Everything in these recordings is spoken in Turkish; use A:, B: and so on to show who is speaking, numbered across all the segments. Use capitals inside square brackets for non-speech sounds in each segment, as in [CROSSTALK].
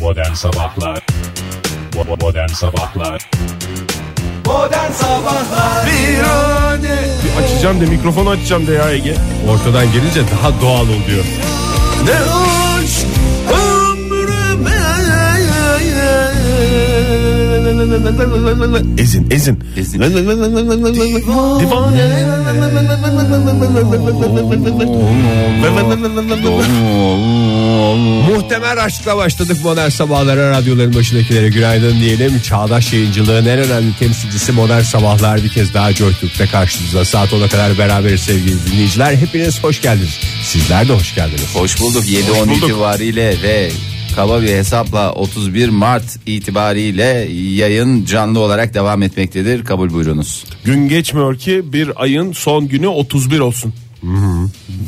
A: Modern Sabahlar Bo- Modern Sabahlar
B: Açacağım de mikrofonu açacağım de ya Ege. Ortadan gelince daha doğal oluyor.
C: Ne hoş ömrüme Ezin ezin
D: Ezin.
C: Divan
B: Muhtemel aşkla başladık modern sabahlara radyoların başındakilere günaydın diyelim. Çağdaş yayıncılığın en önemli temsilcisi modern sabahlar bir kez daha Joytürk'te karşınızda. Saat 10'a kadar beraberiz sevgili dinleyiciler. Hepiniz hoş geldiniz. Sizler de hoş geldiniz.
D: Hoş bulduk 7-10
B: bulduk.
D: itibariyle ve kaba bir hesapla 31 Mart itibariyle yayın canlı olarak devam etmektedir. Kabul buyurunuz.
B: Gün geçmiyor ki bir ayın son günü 31 olsun.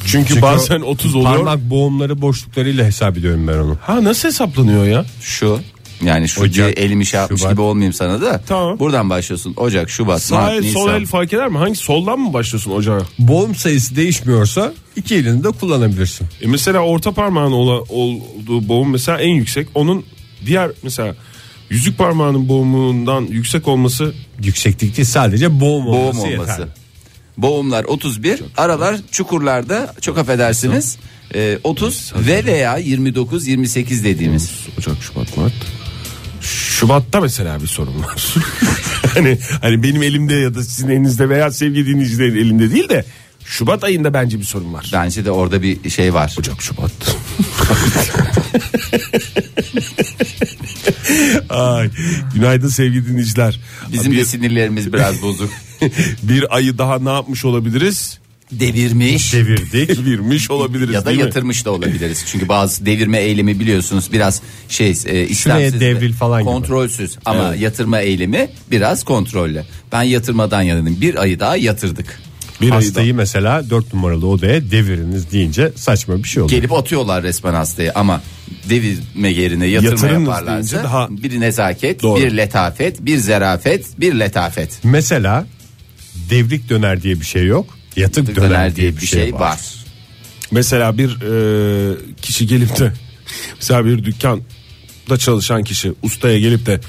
B: Çünkü, bazen 30 oluyor.
E: Parmak boğumları boşluklarıyla hesap ediyorum ben onu.
B: Ha nasıl hesaplanıyor ya?
D: Şu yani şu
E: Ocak,
D: diye elimi şey yapmış
E: Şubat.
D: gibi olmayayım sana da.
B: Tamam.
D: Buradan başlıyorsun. Ocak, Şubat,
B: Sağ
D: Mart,
B: el
D: Nisan.
B: sol el fark eder mi? Hangi soldan mı başlıyorsun ocağa?
E: Boğum sayısı değişmiyorsa iki elini de kullanabilirsin.
B: E mesela orta parmağın ola- olduğu boğum mesela en yüksek. Onun diğer mesela yüzük parmağının boğumundan yüksek olması
E: Yükseklik değil sadece boğum,
D: Boğum
E: olması,
D: olması.
E: yeterli.
D: Boğumlar 31, aralar çukurlarda çok affedersiniz. e, 30 ve veya 29 28 dediğimiz.
B: Ocak, Şubat, Mart. Şubat'ta mesela bir sorun var. [LAUGHS] hani hani benim elimde ya da sizin elinizde veya sevgili dinleyicilerin elinde değil de Şubat ayında bence bir sorun var.
D: Bence de orada bir şey var.
B: Ocak, Şubat. [LAUGHS] Ay, günaydın sevgili dinleyiciler.
D: Bizim
B: bir,
D: de sinirlerimiz
B: [LAUGHS]
D: biraz bozuk.
B: bir ayı daha ne yapmış olabiliriz?
D: Devirmiş.
B: Devirdik. Devirmiş olabiliriz
D: ya da
B: değil mi?
D: yatırmış da olabiliriz. Çünkü bazı devirme eylemi biliyorsunuz biraz şey e, istemsiz de,
E: devril falan gibi.
D: kontrolsüz ama yatırma eylemi biraz kontrollü. Ben yatırmadan yanayım. Bir ayı daha yatırdık.
E: Bir
B: ayda.
E: Hastayı mesela dört numaralı odaya deviriniz deyince saçma bir şey olur.
D: Gelip atıyorlar resmen hastayı ama devirme yerine yatırma
B: Yatırınız deyince
D: yaparlarsa
B: daha-
D: bir nezaket,
B: Doğru.
D: bir letafet, bir zerafet, bir letafet.
E: Mesela devrik döner diye bir şey yok. Yatık döner, diye bir şey, var.
B: Mesela bir e, kişi gelip de mesela bir dükkanda çalışan kişi ustaya gelip de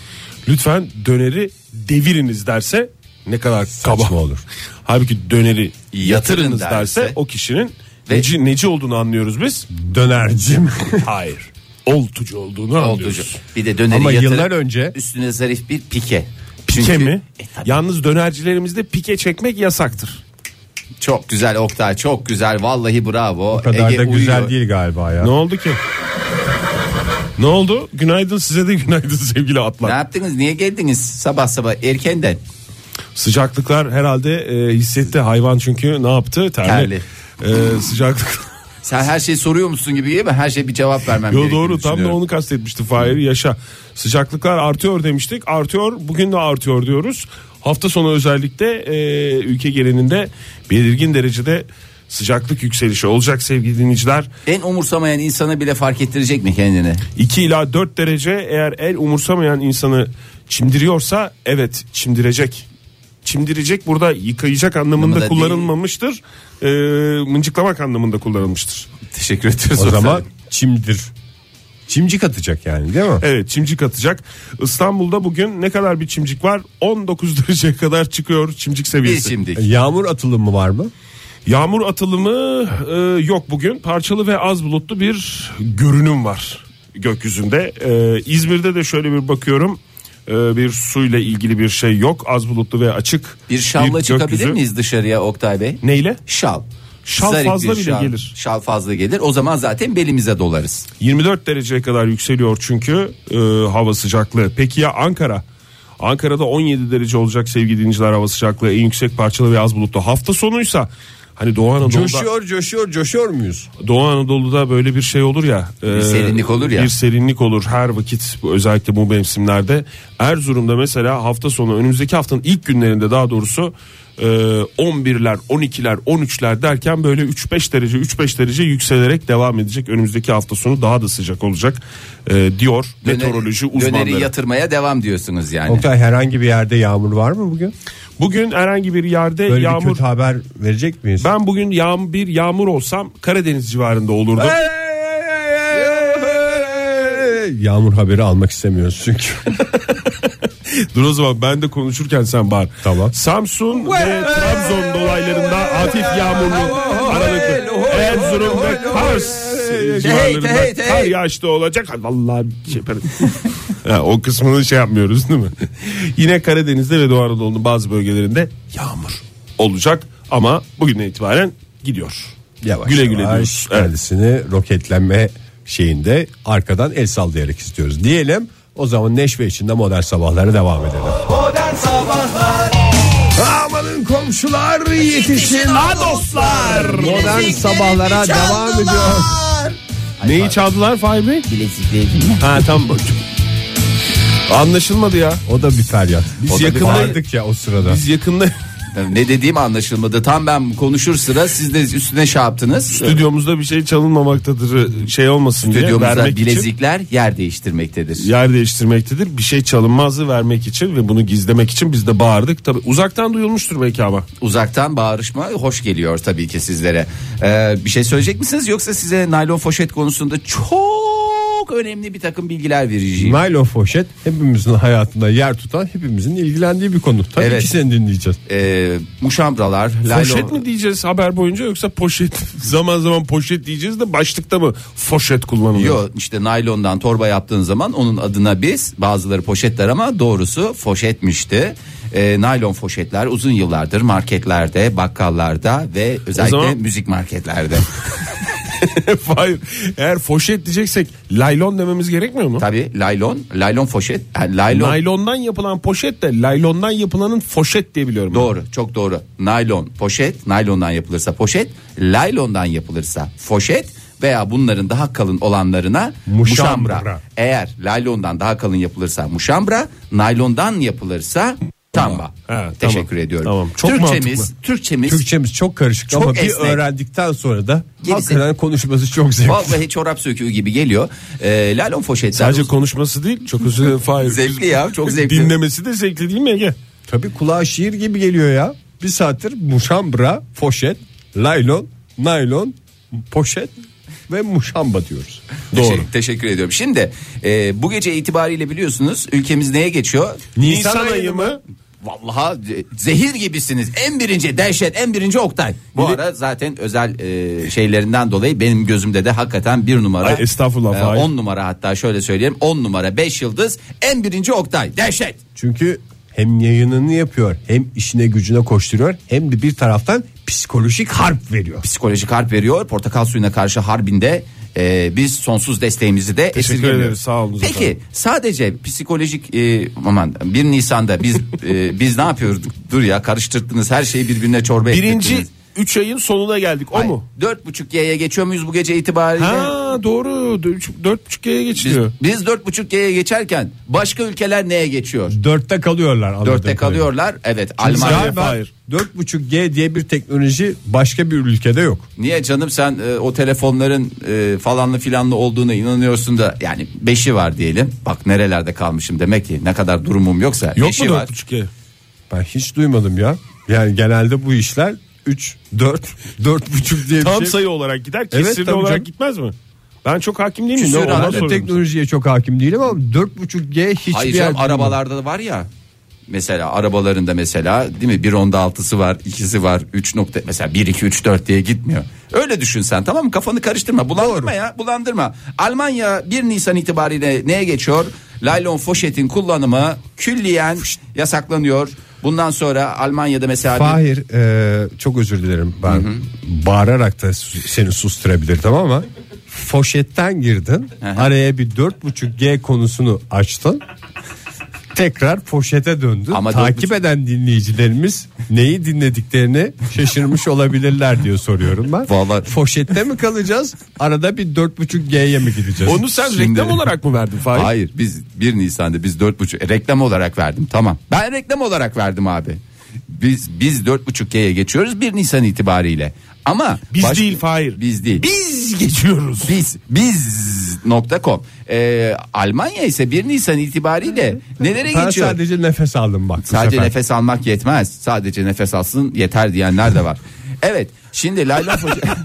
B: lütfen döneri deviriniz derse ne kadar kaba
E: Saçma olur.
B: Halbuki döneri
D: Yatırın
B: yatırınız derse,
D: derse
B: o kişinin
D: Ve-
B: neci, neci olduğunu anlıyoruz biz.
D: [LAUGHS]
E: Dönercim.
B: Hayır. Oltucu olduğunu
D: Olducu.
B: anlıyoruz.
D: Bir de döneri
E: Ama
D: yatırıp
E: yıllar önce-
D: üstüne zarif bir pike.
B: Pike
D: Çünkü-
B: mi?
D: E, tabii.
B: Yalnız dönercilerimizde pike çekmek yasaktır.
D: Çok güzel Oktay çok güzel vallahi bravo.
E: O kadar
D: Ege
E: da güzel
D: uyuyor.
E: değil galiba ya.
B: Ne oldu ki? ne oldu? Günaydın size de günaydın [LAUGHS] sevgili atlar.
D: Ne yaptınız niye geldiniz sabah sabah erkenden?
B: Sıcaklıklar herhalde e, hissetti hayvan çünkü ne yaptı? Terli. E, sıcaklık.
D: Sen her şeyi soruyor musun gibi değil mi? Her şey bir cevap vermem
B: Yo
D: gerektiğini
B: doğru tam da
D: düşünüyorum.
B: onu kastetmişti Fahir yaşa. Sıcaklıklar artıyor demiştik. Artıyor. Bugün de artıyor diyoruz. Hafta sonu özellikle e, ülke genelinde belirgin derecede sıcaklık yükselişi olacak sevgili dinleyiciler.
D: En umursamayan insana bile fark ettirecek mi kendini?
B: 2 ila 4 derece eğer el umursamayan insanı çimdiriyorsa evet çimdirecek. Çimdirecek burada yıkayacak anlamında
D: Anlamı da
B: kullanılmamıştır. Ee, mıncıklamak anlamında kullanılmıştır.
D: Teşekkür ediyoruz.
E: O zaman çimdir. Çimcik atacak yani değil mi?
B: Evet çimcik atacak. İstanbul'da bugün ne kadar bir çimcik var? 19 [LAUGHS] dereceye kadar çıkıyor çimcik
D: bir
B: seviyesi.
D: şimdik.
E: Yağmur atılımı var mı?
B: Yağmur atılımı e, yok bugün. Parçalı ve az bulutlu bir görünüm var gökyüzünde. E, İzmir'de de şöyle bir bakıyorum. E, bir suyla ilgili bir şey yok. Az bulutlu ve açık.
D: Bir şalla çıkabilir
B: gökyüzü.
D: miyiz dışarıya Oktay Bey?
B: Neyle?
D: Şal.
B: Şal
D: Zarif
B: fazla
D: bir
B: bile gelir.
D: Şal fazla gelir. O zaman zaten belimize dolarız.
B: 24 dereceye kadar yükseliyor çünkü e, hava sıcaklığı. Peki ya Ankara? Ankara'da 17 derece olacak sevgili dinleyiciler hava sıcaklığı. En yüksek parçalı ve az bulutlu. Hafta sonuysa hani Doğu Anadolu'da...
E: Coşuyor coşuyor coşuyor muyuz?
B: Doğu Anadolu'da böyle bir şey olur ya. e,
D: serinlik olur ya.
B: Bir serinlik olur her vakit bu- özellikle bu mevsimlerde. Erzurum'da mesela hafta sonu önümüzdeki haftanın ilk günlerinde daha doğrusu e, 11'ler, 12'ler, 13'ler derken böyle 3-5 derece 3-5 derece yükselerek devam edecek. Önümüzdeki hafta sonu daha da sıcak olacak e, diyor
D: Döner-
B: meteoroloji
D: Döneri
B: uzmanları.
D: yatırmaya devam diyorsunuz yani.
E: Oktay herhangi bir yerde yağmur var mı bugün?
B: Bugün herhangi bir yerde
E: Böyle bir
B: yağmur
E: kötü haber verecek miyiz?
B: ben bugün yağm bir yağmur olsam Karadeniz civarında olurdum.
E: yağmur haberi almak istemiyoruz çünkü.
B: Dur o zaman ben de konuşurken sen bağır.
E: Tamam.
B: Samsun ve Trabzon dolaylarında hafif yağmurlu aralıklı. Erzurum ve Kars civarlarında
D: hey, hey.
B: kar yağışlı olacak. Ha, Vallahi şey yaparım. [LAUGHS] Ha, o kısmını şey yapmıyoruz değil mi? [LAUGHS] Yine Karadeniz'de ve Doğu Anadolu'nun bazı bölgelerinde yağmur olacak ama bugünden itibaren gidiyor.
E: Yavaş
B: güle güle
E: yavaş
B: diyoruz. Evet.
E: kendisini roketlenme şeyinde arkadan el sallayarak istiyoruz. Diyelim o zaman neşve içinde modern sabahlara devam edelim.
C: Modern Sabahlar
E: Amanın komşular yetişin.
B: dostlar.
E: Modern sabahlara devam ediyor.
B: Neyi çaldılar Fahri Bey?
D: Bilezikleri.
B: Ha tam Anlaşılmadı ya.
E: O da bir feryat.
B: O
E: Biz
B: da bir
E: yakında
B: feryat.
E: vardık ya o sırada.
B: Biz yakında
D: Ne dediğim anlaşılmadı. Tam ben konuşur sıra siz de üstüne şey yaptınız.
B: stüdyomuzda bir şey çalınmamaktadır. Şey olmasın diye
D: Stüdyomuzda
B: vermek için
D: bilezikler yer değiştirmektedir.
B: yer değiştirmektedir. Bir şey çalınmazı vermek için ve bunu gizlemek için biz de bağırdık. Tabi uzaktan duyulmuştur belki ama.
D: Uzaktan bağırışma hoş geliyor tabii ki sizlere. Ee, bir şey söyleyecek misiniz yoksa size naylon foşet konusunda çok önemli bir takım bilgiler vereceğim.
E: Naylon foşet hepimizin hayatında yer tutan hepimizin ilgilendiği bir konu. Tabii
D: Evet.
E: ki seni dinleyeceğiz.
D: Ee, muşambralar,
B: Poşet mi diyeceğiz haber boyunca yoksa poşet [LAUGHS] zaman zaman poşet diyeceğiz de başlıkta mı foşet kullanılıyor?
D: Yo işte naylondan torba yaptığın zaman onun adına biz bazıları poşetler ama doğrusu foşetmişti. Ee, naylon foşetler uzun yıllardır marketlerde, bakkallarda ve özellikle
B: zaman-
D: müzik marketlerde.
B: [LAUGHS] Hayır. Eğer foşet diyeceksek laylon dememiz gerekmiyor mu?
D: Tabii laylon, laylon foşet, yani laylon
B: Naylondan yapılan poşet de laylondan yapılanın foşet diye biliyorum. ben.
D: Doğru çok doğru. Naylon poşet, naylondan yapılırsa poşet, laylondan yapılırsa foşet veya bunların daha kalın olanlarına muşambra.
E: Muşambra.
D: Eğer laylondan daha kalın yapılırsa muşambra, naylondan yapılırsa tamba.
B: tamam.
D: Teşekkür ediyorum.
B: Tamam, çok
D: Türkçemiz,
B: mantıklı.
D: Türkçemiz
E: Türkçemiz çok karışık
D: Çok
E: ama
D: esnek.
E: bir öğrendikten sonra da
D: Gerisi-
E: hakikaten konuşması çok zevkli.
D: vallahi çorap söküğü gibi geliyor. Ee, laylon foşetler
B: Sadece konuşması değil çok özür dilerim Fahir.
D: Zevkli ya,
B: [LAUGHS]
D: çok zevkli.
B: Dinlemesi de zevkli değil mi Ege?
E: Tabii kulağa şiir gibi geliyor ya. Bir saattir muşambra, foşet, laylon, naylon, poşet ve muşamba diyoruz.
D: Teşekkür-
B: Şey,
D: teşekkür ediyorum. Şimdi e, bu gece itibariyle biliyorsunuz ülkemiz neye geçiyor?
B: Nisan, ayı mı?
D: Vallahi zehir gibisiniz. En birinci dehşet, en birinci Oktay. Bu ara zaten özel e, şeylerinden dolayı benim gözümde de hakikaten bir numara.
B: Ay, estağfurullah, Fahir.
D: 10 numara hatta şöyle söyleyeyim. 10 numara 5 yıldız en birinci Oktay. Dehşet.
E: Çünkü hem yayınını yapıyor hem işine gücüne koşturuyor hem de bir taraftan psikolojik harp veriyor.
D: Psikolojik harp veriyor. Portakal suyuna karşı harbinde e, biz sonsuz desteğimizi de
B: Teşekkür
D: esirgemiyoruz.
B: ederiz, sağ olun
D: Peki
B: efendim.
D: sadece psikolojik e, aman 1 Nisan'da biz e, biz ne yapıyorduk? Dur ya karıştırdınız her şeyi birbirine çorba
B: Birinci
D: ettirdiniz.
B: 3 ayın sonuna geldik o mu?
D: Dört buçuk Y'ye geçiyor muyuz bu gece itibariyle?
B: Ha doğru 4.5G'ye
D: Biz,
B: geçiliyor.
D: biz dört buçuk Y'ye geçerken başka ülkeler neye geçiyor?
E: Dörtte kalıyorlar. anladığım
D: Dörtte
E: kadarıyla.
D: kalıyorlar. Evet
E: Galiba
D: Almanya.
B: Hayır.
E: 4.5G diye bir teknoloji başka bir ülkede yok.
D: Niye canım sen e, o telefonların e, falanlı filanlı olduğuna inanıyorsun da yani beşi var diyelim. Bak nerelerde kalmışım demek ki ne kadar durumum yoksa
B: Yok mu
D: beşi var.
B: 4.5G?
E: Ben hiç duymadım ya. Yani genelde bu işler 3, 4, 4.5 diye bir
B: Tam
E: şey.
B: sayı olarak gider
E: Evet,
B: kesirli
E: tabii
B: olarak
E: canım.
B: gitmez mi? Ben çok hakim değilim.
D: Küsur
B: Ne, ondan
D: halde
E: Ben
B: soruyorum.
E: teknolojiye çok hakim değilim ama 4.5G hiçbir
D: Hayır
E: yer
D: canım arabalarda da var ya. Mesela arabalarında mesela değil mi bir onda altısı var ikisi var 3 nokta mesela 1 2 3 4 diye gitmiyor. Öyle düşün sen tamam mı kafanı karıştırma bulandırma ya bulandırma. Almanya 1 Nisan itibariyle neye geçiyor? Laylon foşetin kullanımı külliyen yasaklanıyor. Bundan sonra Almanya'da mesela bir-
E: Fahir e, çok özür dilerim ben bağırarak da su- seni susturabilirdim ama foşetten girdin
D: hı.
E: araya bir 4.5G konusunu açtın tekrar foşete döndün
D: Ama
E: takip eden dinleyicilerimiz neyi dinlediklerini şaşırmış olabilirler diye soruyorum ben
D: Vallahi-
E: foşette mi kalacağız arada bir 4.5G'ye mi gideceğiz
B: Onu sen
D: Şimdi-
B: reklam olarak mı verdin Fahir?
D: Hayır biz 1 Nisan'da biz 4.5 e, reklam olarak verdim tamam. Ben reklam olarak verdim abi. Biz biz 4.5G'ye geçiyoruz 1 Nisan itibariyle. Ama
B: Biz
D: baş-
B: değil Fahir.
D: Biz değil.
B: Biz geçiyoruz.
D: Biz biz nokta com. Ee, Almanya ise 1 Nisan itibariyle nelere
E: ben
D: geçiyor?
E: sadece nefes aldım bak bu
D: Sadece
E: sefer.
D: nefes almak yetmez. Sadece nefes alsın yeter
E: [LAUGHS]
D: diyenler de var. Evet. Şimdi Laylon Foca-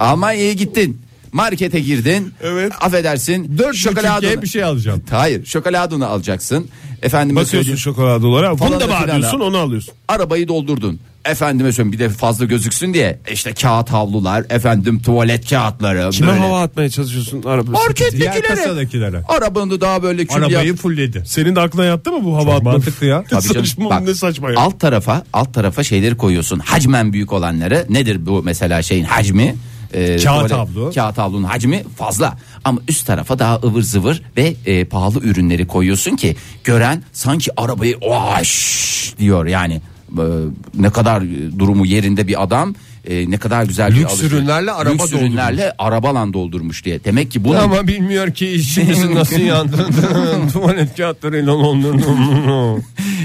D: Almanya'ya gittin. Markete girdin.
E: Evet.
D: Affedersin. şokoladonu-
E: Dört şokoladeye bir şey alacağım.
D: Hayır, şokoladonu alacaksın. Efendime
B: Bakıyorsun
D: söyleyeyim.
B: şokolada olarak. Bunu
D: Falan
B: da
D: da filan
B: bağlıyorsun
D: da.
B: onu alıyorsun.
D: arabayı doldurdun. Efendime söyleyeyim bir de fazla gözüksün diye E işte kağıt havlular efendim tuvalet kağıtları
B: Kime
D: böyle.
B: hava atmaya çalışıyorsun arabası?
E: Diğer
D: Markettekilere.
E: kasadakilere.
D: Arabanı daha böyle kül
E: Arabayı
D: yap-
E: fulledi.
B: Senin de aklına yattı mı bu hava atma?
E: mantıklı ya.
B: Ne
D: Tabii canım,
B: saçma
D: bak,
B: ne saçma ya.
D: Alt tarafa alt tarafa şeyleri koyuyorsun. Hacmen büyük olanları. Nedir bu mesela şeyin hacmi? Ee,
E: Kağıt havlu.
D: Kağıt havlunun hacmi fazla. Ama üst tarafa daha ıvır zıvır ve e, pahalı ürünleri koyuyorsun ki gören sanki arabayı "Vaş!" diyor yani. e, ne kadar e, durumu yerinde bir adam e, ne kadar güzel bir
E: Lüks ürünlerle araba
D: Lüks ürünlerle arabalan doldurmuş diye. Demek ki bunu
E: Ama bilmiyor ki [LAUGHS] işimizin nasıl yandığını [LAUGHS] tuvalet kağıtlarıyla olduğunu.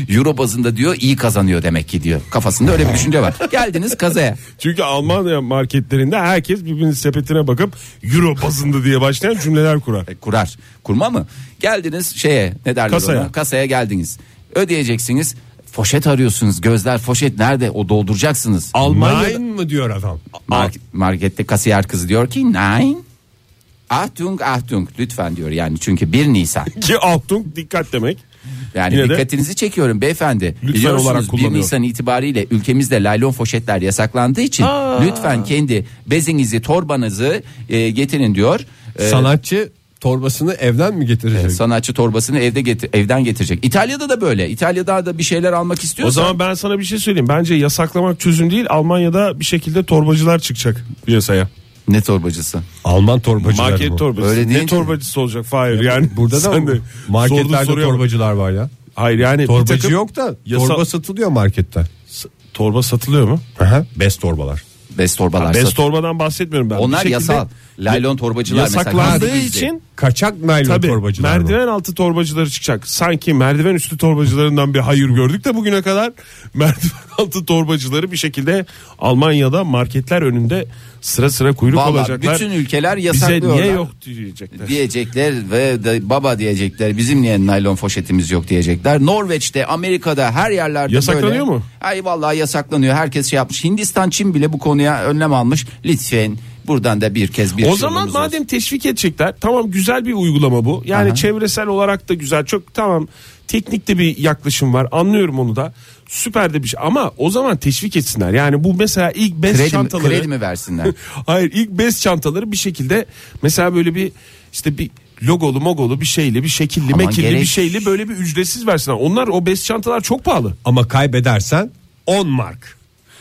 D: euro bazında diyor iyi kazanıyor demek ki diyor. Kafasında öyle bir düşünce
E: [LAUGHS]
D: var. Geldiniz kazaya.
B: Çünkü Almanya marketlerinde herkes birbirinin sepetine bakıp euro bazında diye başlayan cümleler kurar.
D: E, kurar. Kurma mı? Geldiniz şeye ne derler
B: Kasaya.
D: ona? Kasaya geldiniz. Ödeyeceksiniz. Foşet arıyorsunuz. Gözler foşet nerede? O dolduracaksınız.
E: Almanya'da mı diyor adam?
D: Mark- markette kasiyer kızı diyor ki nine. Ah, Achtung Achtung lütfen diyor yani çünkü 1 Nisan.
B: Ki Altung dikkat demek.
D: Yani
B: Yine de-
D: dikkatinizi çekiyorum beyefendi.
B: Lütfen
D: Biliyorsunuz
B: olarak
D: 1
B: kullanıyorum.
D: Nisan itibariyle ülkemizde laylon foşetler yasaklandığı için lütfen kendi bezinizi torbanızı e, getirin diyor. E,
E: Sanatçı torbasını evden mi getirecek?
D: sanatçı torbasını evde getir, evden getirecek. İtalya'da da böyle. İtalya'da da bir şeyler almak
B: O
D: istiyorsan
B: zaman ben sana bir şey söyleyeyim. Bence yasaklamak çözüm değil. Almanya'da bir şekilde torbacılar çıkacak piyasaya.
D: ne torbacısı?
E: Alman torbacıları bu.
B: Market torbacısı.
D: Öyle
B: ne
D: deyince-
B: torbacısı olacak Fahir yani.
E: Burada da
B: sen de sorduğun
E: marketlerde
B: soruya bak.
E: torbacılar var ya.
B: Hayır yani
E: Torbacı
B: bir takım-
E: yok da
B: yasa-
E: torba satılıyor markette.
B: Torba satılıyor mu?
E: Aha, bez torbalar.
D: Bez torbalar.
B: Bez
D: satıyor.
B: torbadan bahsetmiyorum ben.
D: Onlar
B: Bir şekilde
D: yasal. Laylon torbacılar
B: Yasaklandığı
D: mesela.
B: için
E: Kaçak naylon
B: Tabii
E: torbacılar bu.
B: merdiven altı torbacıları çıkacak. Sanki merdiven üstü torbacılarından bir hayır gördük de bugüne kadar [LAUGHS] merdiven altı torbacıları bir şekilde Almanya'da marketler önünde sıra sıra kuyruk
D: Vallahi
B: olacaklar.
D: bütün ülkeler
B: Bize
D: yasaklıyorlar.
B: niye yok diyecekler.
D: diyecekler ve de baba diyecekler bizim niye naylon foşetimiz yok diyecekler. Norveç'te, Amerika'da her yerlerde
B: Yasaklanıyor
D: böyle.
B: mu?
D: Ay vallahi yasaklanıyor. Herkes şey yapmış. Hindistan, Çin bile bu konuya önlem almış. Lütfen buradan da bir kez bir şey
B: o zaman
D: yolumuz olsun.
B: madem teşvik edecekler tamam güzel bir uygulama bu. Yani çevresel olarak da güzel çok tamam teknikte bir yaklaşım var anlıyorum onu da süper de bir şey ama o zaman teşvik etsinler. Yani bu mesela ilk bez
D: kredi, mi-
B: çantaları. [LAUGHS]
D: kredi mi versinler?
B: Hayır ilk bez çantaları bir şekilde mesela böyle bir işte bir logolu mogolu bir şeyli bir şekilli
D: Aman
B: mekilli
D: gerek-
B: bir şeyli böyle bir ücretsiz versinler. Onlar o bez çantalar çok pahalı.
E: Ama kaybedersen
B: 10 mark.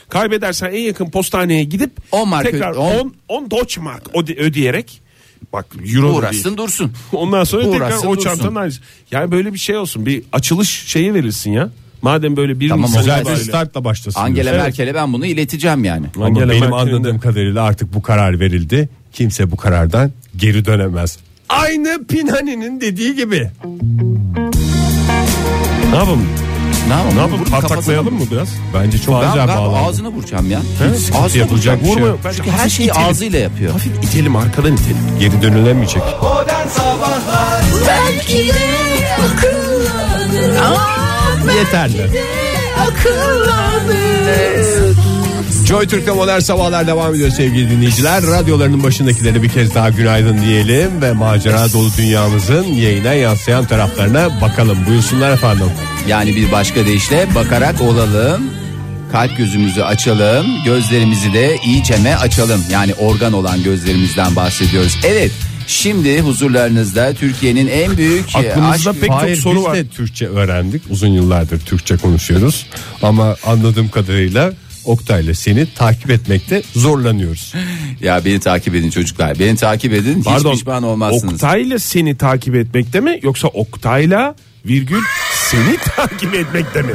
B: Kaybedersen en yakın postaneye gidip
D: 10 mark
B: tekrar
D: ö- on-
B: 10 10 Deutsche mark öde- ödeyerek bak euro da değil.
D: Uğraşsın dursun.
B: Ondan sonra
D: Uğraşsın
B: tekrar o
D: dursun.
B: çantanın ayrıca. Yani böyle bir şey olsun. Bir açılış şeyi verilsin ya. Madem böyle bir
D: Tamam,
B: Nisan
E: güzel
D: Güzel.
E: bir
B: itibariyle-
E: startla başlasın.
D: Angela
E: diyorsun.
D: Merkel'e ben bunu ileteceğim yani.
E: Ama
B: Angela
E: benim
B: Merkel'in de-
E: anladığım kadarıyla artık bu karar verildi. Kimse bu karardan geri dönemez. Aynı Pinani'nin dediği gibi.
B: Ne yapalım?
D: Ne yapalım?
B: Ne yapalım?
D: Vurun kafasına.
B: Pataklayalım mı biraz?
E: Bence çok
D: Ben,
E: güzel
D: ben
E: bağlandı.
D: ağzını vuracağım ya.
E: sıkıntı
D: Ağzını
E: yapılacak
D: vuracağım.
E: bir şey
B: Vurma.
E: yok.
B: Bence
D: Çünkü her
B: hafif
D: şeyi
B: itelim.
D: ağzıyla yapıyor.
B: Hafif itelim arkadan itelim.
E: Geri dönülemeyecek.
C: Modern Sabahlar
F: Belki de akıllanır.
E: Yeterli.
F: Belki de akıllanır.
E: Joy Türk'te modern sabahlar devam ediyor sevgili dinleyiciler. Radyolarının başındakileri bir kez daha günaydın diyelim ve macera dolu dünyamızın yayına yansıyan taraflarına bakalım. Buyursunlar efendim.
D: Yani bir başka deyişle bakarak olalım. Kalp gözümüzü açalım, gözlerimizi de iyiceme açalım. Yani organ olan gözlerimizden bahsediyoruz. Evet, şimdi huzurlarınızda Türkiye'nin en büyük e,
B: Aklımızda
D: aşk-
B: pek çok
E: Hayır,
B: soru
E: biz
B: var.
E: de Türkçe öğrendik. Uzun yıllardır Türkçe konuşuyoruz. Ama anladığım kadarıyla Oktay'la seni takip etmekte zorlanıyoruz.
D: Ya beni takip edin çocuklar, beni takip edin. Hiç pişman olmazsınız.
B: Oktay'la seni takip etmekte mi yoksa Oktay'la virgül seni [LAUGHS] takip etmekte mi?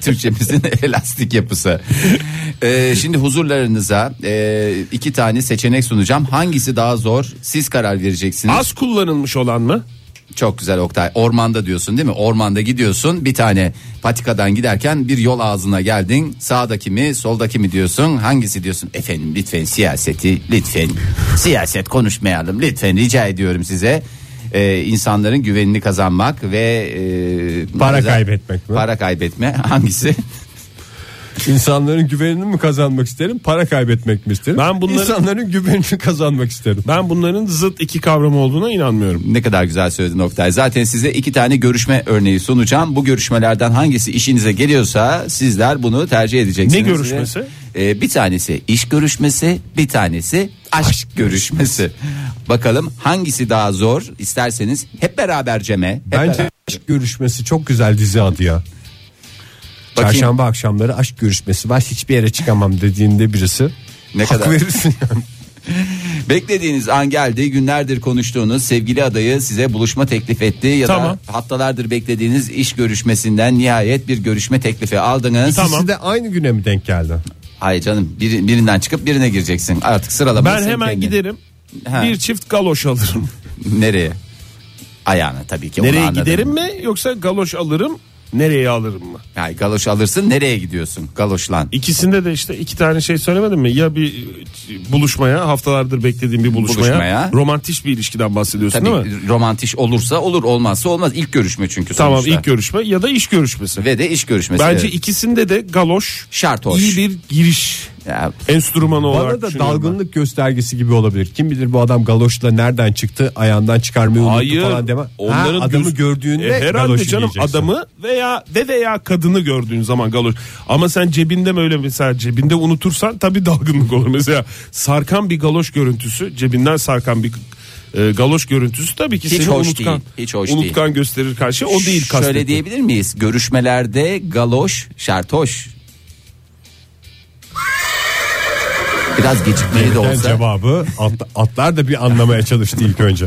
D: Türkçemizin [LAUGHS] elastik yapısı. Ee, şimdi huzurlarınıza e, iki tane seçenek sunacağım. Hangisi daha zor? Siz karar vereceksiniz.
B: Az kullanılmış olan mı?
D: Çok güzel Oktay. Ormanda diyorsun değil mi? Ormanda gidiyorsun. Bir tane patikadan giderken bir yol ağzına geldin. Sağdaki mi, soldaki mi diyorsun? Hangisi diyorsun? Efendim lütfen siyaseti lütfen siyaset konuşmayalım. Lütfen rica ediyorum size. Ee, insanların güvenini kazanmak ve e,
E: Para
D: bazen-
E: kaybetmek
D: [LAUGHS]
E: mi?
D: Para kaybetme hangisi?
E: İnsanların güvenini mi kazanmak isterim, para kaybetmek mi isterim?
B: Ben bunları-
E: İnsanların güvenini kazanmak isterim.
B: Ben bunların zıt iki kavram olduğuna inanmıyorum.
D: Ne kadar güzel söyledin Oktay. Zaten size iki tane görüşme örneği sunacağım. Bu görüşmelerden hangisi işinize geliyorsa sizler bunu tercih edeceksiniz.
B: Ne görüşmesi?
D: Ee, bir tanesi iş görüşmesi, bir tanesi aşk, görüşmesi. Bakalım hangisi daha zor? İsterseniz hep beraber Cem'e. hep
E: Bence
D: beraber-
E: aşk görüşmesi çok güzel dizi adı ya.
D: Bakayım.
E: Çarşamba akşamları aşk görüşmesi var hiçbir yere çıkamam dediğinde birisi.
D: Ne
E: hak
D: kadar-
E: verirsin yani.
D: Beklediğiniz an geldi. Günlerdir konuştuğunuz sevgili adayı size buluşma teklif etti ya
B: Tamam.
D: da haftalardır beklediğiniz iş görüşmesinden nihayet bir görüşme teklifi aldınız.
B: Tamam.
E: İkisi de aynı güne mi denk geldi?
D: Hayır canım biri- birinden çıkıp birine gireceksin. Artık sıralama.
B: Ben
D: senin
B: hemen
D: kendin.
B: giderim.
D: Ha.
B: Bir çift
D: [LAUGHS]
B: galoş alırım.
D: Nereye? Ayağına tabii ki. onu
B: Nereye
D: anladım.
B: giderim mi yoksa galoş alırım nereye alırım mı?
D: Yani galoş alırsın nereye gidiyorsun galoşlan.
B: İkisinde de işte iki tane şey söylemedim mi? Ya bir e, buluşmaya haftalardır beklediğim bir buluşmaya,
D: Buluşmaya.
B: romantik bir ilişkiden bahsediyorsun
D: Tabii
B: değil mi?
D: romantiş olursa olur olmazsa olmaz ilk görüşme çünkü
B: Tamam
D: sonuçta.
B: ilk görüşme ya da iş görüşmesi.
D: Ve de iş görüşmesi.
B: Bence
D: Evet.
B: ikisinde de galoş
D: Şart hoş.
B: iyi bir giriş
D: Ya,
B: enstrümanı olarak
E: Bana da
B: düşünüyorum ben.
E: dalgınlık göstergesi gibi olabilir. Kim bilir bu adam galoşla nereden çıktı ayağından çıkarmayı unuttu
B: Hayır.
E: falan deme. Ha,
B: Onların
E: adamı
B: göz-
E: gördüğünde
B: E, herhalde
E: galoşu
B: canım
E: giyeceksin.
B: adamı veya ve veya kadını gördüğün zaman galoş. Ama sen cebinde mi öyle mesela cebinde unutursan tabii dalgınlık olur. Mesela sarkan bir galoş görüntüsü, cebinden sarkan bir e, galoş görüntüsü tabii ki
D: Hiç
B: seni
D: hoş
B: unutkan.
D: değil, hiç hoş değil.
B: unutkan gösterir karşı. O değil
D: Şöyle
B: kastettiğim.
D: diyebilir miyiz? Görüşmelerde galoş şart hoş. Biraz gecikmeli de
E: Yani
D: olsa.
E: cevabı at- atlar da bir anlamaya çalıştı
D: [LAUGHS]
E: ilk önce.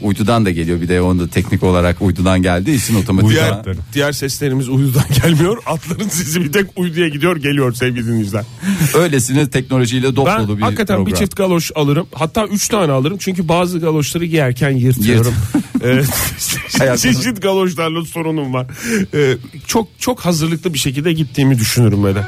D: Uydudan da geliyor bir de onu da teknik olarak uydudan geldiği için otomatik.
B: Diğer, diğer seslerimiz uyudan [LAUGHS] gelmiyor. Atların sesi bir tek uyduya gidiyor, geliyor sevgili dinleyiciler.
D: Öylesine teknolojiyle dop
B: Ben
D: dolu bir
B: hakikaten
D: program.
B: bir çift galoş alırım. Hatta üç tane alırım. Çünkü bazı galoşları giyerken yırtıyorum. [LAUGHS] Ee,
D: Hayatım.
B: çeşit galoşlarla sorunum var. Ee, çok çok hazırlıklı bir şekilde gittiğimi düşünürüm böyle.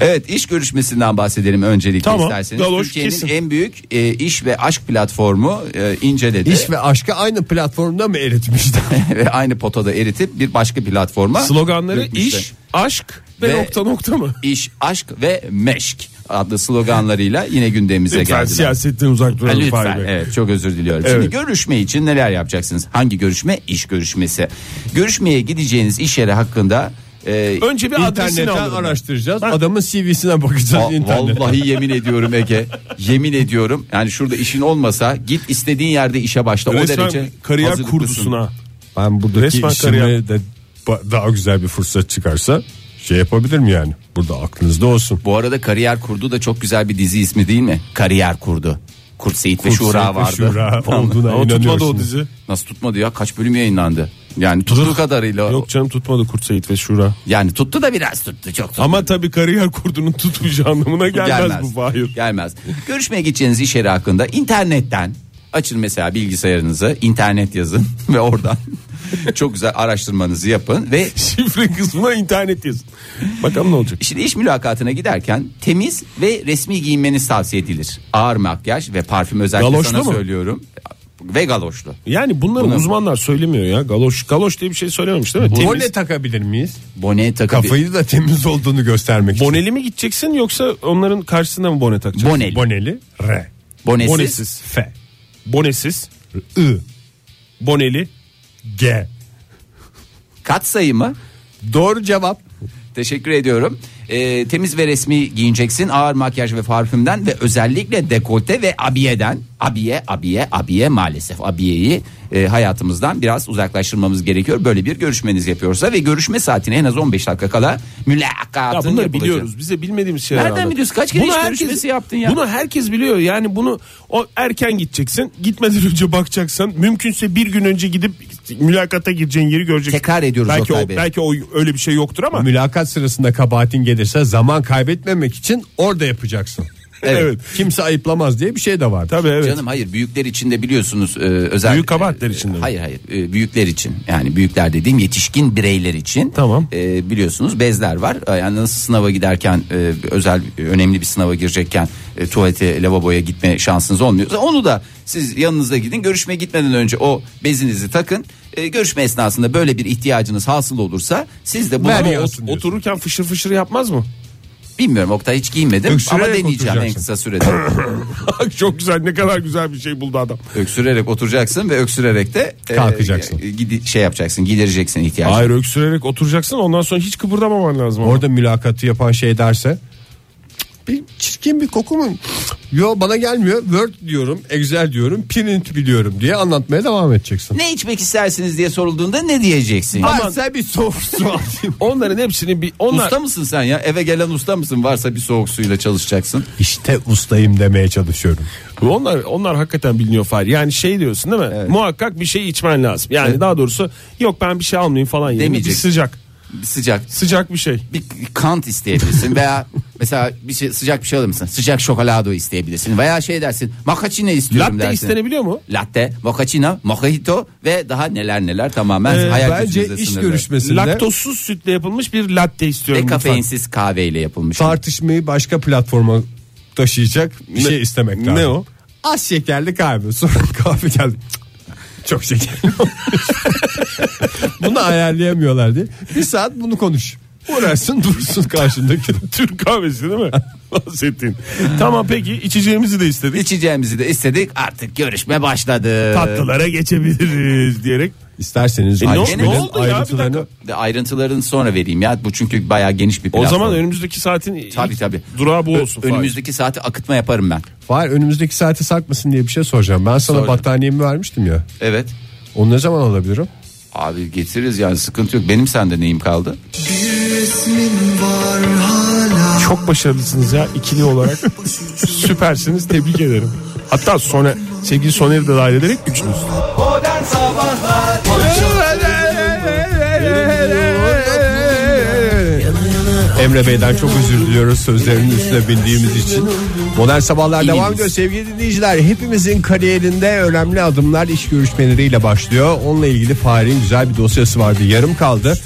D: Evet iş görüşmesinden bahsedelim öncelikle
B: Tamam,
D: isterseniz.
B: galoş
D: Türkiye'nin
B: kesin.
D: en büyük e, iş ve aşk platformu e, inceledi.
E: İş ve aşkı aynı platformda mı eritmişler?
D: ve aynı potada eritip bir başka platforma
B: Sloganları
D: dökmüşler.
B: iş, aşk ve,
D: Ve-
B: nokta nokta mı?
D: iş, aşk ve meşk adlı sloganlarıyla yine gündemimize
B: Lütfen
D: [LAUGHS] geldiler.
B: siyasetten uzak
D: Ha,
B: duralım. Fahir
D: Lütfen
B: Bey.
D: evet çok özür diliyorum. Şimdi
B: Evet.
D: görüşme için neler yapacaksınız? Hangi görüşme? İş görüşmesi. Görüşmeye gideceğiniz iş yeri hakkında e,
B: Önce bir adresini
E: İnternetten
B: alırım. ben.
E: araştıracağız. Adamın CV'sine bakacağız
D: Va-
E: internetten.
D: Vallahi yemin ediyorum Ege. Yemin ediyorum. Yani şurada işin olmasa git istediğin yerde işe başla. o
B: Resmen
D: derece
B: kariyer
D: hazırlıklısın.
B: kurdusuna.
E: Ben buradaki
B: Resmen
E: işime
B: kariyer-
E: de ba- daha güzel bir fırsat çıkarsa şey yapabilir mi yani? Burada aklınızda olsun.
D: Bu arada kariyer kurdu da çok güzel bir dizi ismi değil mi? Kariyer kurdu. Kurt Seyit ve Şura vardı.
E: Şura olduğuna
B: Ama tutmadı o
E: inanıyorsunuz.
B: dizi.
D: Nasıl tutmadı ya? Kaç bölüm yayınlandı? Yani tuttuğu kadarıyla.
B: Yok canım tutmadı Kurt Seyit ve Şura.
D: Yani tuttu da biraz tuttu çok tuttu.
B: Ama tabii kariyer kurdunun tutmayacağı anlamına gelmez, bu Fahir.
D: Gelmez. Görüşmeye gideceğiniz iş yeri hakkında internetten açın mesela bilgisayarınızı internet yazın [LAUGHS] ve oradan çok güzel araştırmanızı yapın ve
B: Şifre kısmına internet yazın. Bakalım ne olacak.
D: Şimdi iş mülakatına giderken temiz ve resmi giyinmeniz tavsiye edilir. Ağır makyaj ve parfüm özellikle
B: Galoşlu
D: sana
B: mu?
D: söylüyorum. Ve galoşlu.
B: Yani bunları
D: Bunu-
B: uzmanlar söylemiyor ya. Galoş galoş diye bir şey söylememiş değil mi? Temiz.
E: Bone takabilir miyiz?
D: Bone takı.
E: Kafayı da temiz olduğunu göstermek için.
B: Boneli mi gideceksin yoksa onların karşısına mı bone takacaksın?
D: Boneli.
E: Boneli re.
D: Bonesiz.
B: Bonesiz.
E: Fe.
B: Bonesiz.
E: I.
B: Boneli.
E: G.
D: Kat sayı mı?
E: Doğru cevap.
D: Teşekkür ediyorum. Ee, temiz ve resmi giyineceksin. Ağır makyaj ve parfümden ve özellikle dekolte ve abiyeden. Abiye, abiye, abiye maalesef. Abiyeyi e, hayatımızdan biraz uzaklaştırmamız gerekiyor. Böyle bir görüşmeniz yapıyorsa ve görüşme saatine en az 15 dakika kala mülakatın
B: Ya bunları
D: yapılacak.
B: biliyoruz. Bize bilmediğimiz şeyler.
D: Nereden
B: anlat.
D: biliyorsun? Kaç kere iş görüşmesi yaptın ya?
B: Bunu herkes biliyor. Yani bunu o erken gideceksin. Gitmeden [LAUGHS] önce bakacaksın. Mümkünse bir gün önce gidip mülakata gireceğin yeri göreceksin.
D: Tekrar ediyoruz
B: belki
D: Oktay
B: o,
D: Bey.
B: belki o öyle bir şey yoktur ama.
E: Mülakat sırasında kabahatin gelirse zaman kaybetmemek için orada yapacaksın.
D: Evet.
E: Kimse ayıplamaz diye bir şey de var.
B: Tabii evet.
D: Canım hayır büyükler için de biliyorsunuz e, özel
B: Büyük kabahatler için de mi?
D: Hayır hayır e, büyükler için yani büyükler dediğim yetişkin bireyler için.
B: Tamam.
D: E, biliyorsunuz bezler var. E, Yani nasıl sınava giderken e, özel e, önemli bir sınava girecekken e, tuvalete lavaboya gitme şansınız olmuyor. Onu da siz yanınızda gidin görüşmeye gitmeden önce o bezinizi takın. E, görüşme esnasında böyle bir ihtiyacınız hasıl olursa siz de bunu
B: Ama
E: Ver ya.
B: ot- otururken fışır fışır yapmaz mı? [LAUGHS]
D: Bilmiyorum Oktay hiç giymedim ama
B: Öksürerek
D: deneyeceğim en
B: oturacaksın.
D: kısa sürede.
B: [CLEARS THROAT] Çok güzel ne kadar güzel bir şey buldu adam.
D: öksürerek oturacaksın ve öksürerek de e,
E: Kalkacaksın.
D: gidi- şey yapacaksın, gidereceksin ihtiyacını.
B: Hayır öksürerek oturacaksın ondan sonra hiç kıpırdamaman lazım. ama.
E: Orada mülakatı yapan şey derse bir çirkin bir koku mu? Yo bana gelmiyor. Word diyorum, Excel diyorum, print biliyorum diye anlatmaya devam edeceksin.
D: Ne içmek istersiniz diye sorulduğunda ne diyeceksin?
E: Varsa bir soğuk su alayım.
B: Onların hepsini bir onlar
D: Usta mısın sen ya? Eve gelen usta mısın? Varsa bir soğuk suyla çalışacaksın.
E: İşte ustayım demeye çalışıyorum.
B: Onlar onlar hakikaten biliniyor Fahir. Yani şey diyorsun değil mi? Muhakkak bir şey içmen lazım. Yani daha doğrusu yok ben bir şey almayayım falan yerine bir
D: Demeyecek.
B: sıcak.
D: Bir sıcak
B: Sıcak bir şey.
D: bir kant isteyebilirsin
E: [LAUGHS]
D: veya mesela bir şey, sıcak bir şey alır mısın? Sıcak şokolado isteyebilirsin veya şey dersin. Macchiato istiyorum
B: Latte
D: dersin.
B: istenebiliyor mu?
D: Latte, macchiato, mojito ve daha neler neler tamamen hayal
E: Ee, Bence
D: gücünüzle
E: iş
D: sınırlı.
E: görüşmesinde
B: Laktozsuz sütle yapılmış bir latte istiyorum.
D: ve
B: lütfen. [LAUGHS]
D: kafeinsiz kahveyle yapılmış.
E: tartışmayı başka platforma taşıyacak bir
B: Ne-
E: şey istemek
B: ne
E: lazım.
B: o?
E: Az şekerli kahve. Sonra [LAUGHS] kahve geldi. Cık, Çok şekerli olmuş. bunu ayarlayamıyorlar diye. Bir saat bunu konuş. Uğraşsın dursun karşındaki.
B: Türk kahvesi değil mi? [LAUGHS] Bahsettiğin. tamam peki içeceğimizi de istedik.
D: İçeceğimizi de istedik. Artık görüşme başladı.
B: Tatlılara geçebiliriz diyerek.
E: İsterseniz
B: E, ne,
D: Ayşe'nin
B: ne oldu ya bir
E: ayrıntılarını-
B: dakika.
D: De Ayrıntılarını sonra vereyim ya. Bu çünkü bayağı geniş bir
B: O
D: platform.
B: zaman önümüzdeki saatin
D: Tabii,
B: ilk
D: tabii.
B: durağı bu olsun. Fahir.
D: önümüzdeki saati akıtma yaparım ben.
E: Var önümüzdeki saate sarkmasın diye bir şey soracağım. Ben sana
D: Soracağım.
E: battaniyemi vermiştim ya.
D: Evet.
E: Onu ne zaman alabilirim?
D: Abi getiririz yani sıkıntı yok. Benim sende neyim kaldı?
B: Çok başarılısınız ya ikili
E: [LAUGHS]
B: olarak. Süpersiniz tebrik ederim. Hatta sonra sevgili Soner'i de dahil ederek üçünüz.
C: Modern Sabahlar
E: Emre Bey'den çok özür diliyoruz sözlerinin üstüne bildiğimiz için. Modern Sabahlar devam ediyor sevgili dinleyiciler. Hepimizin kariyerinde önemli adımlar iş görüşmeleriyle başlıyor. Onunla ilgili Fahri'nin güzel bir dosyası vardı yarım kaldı.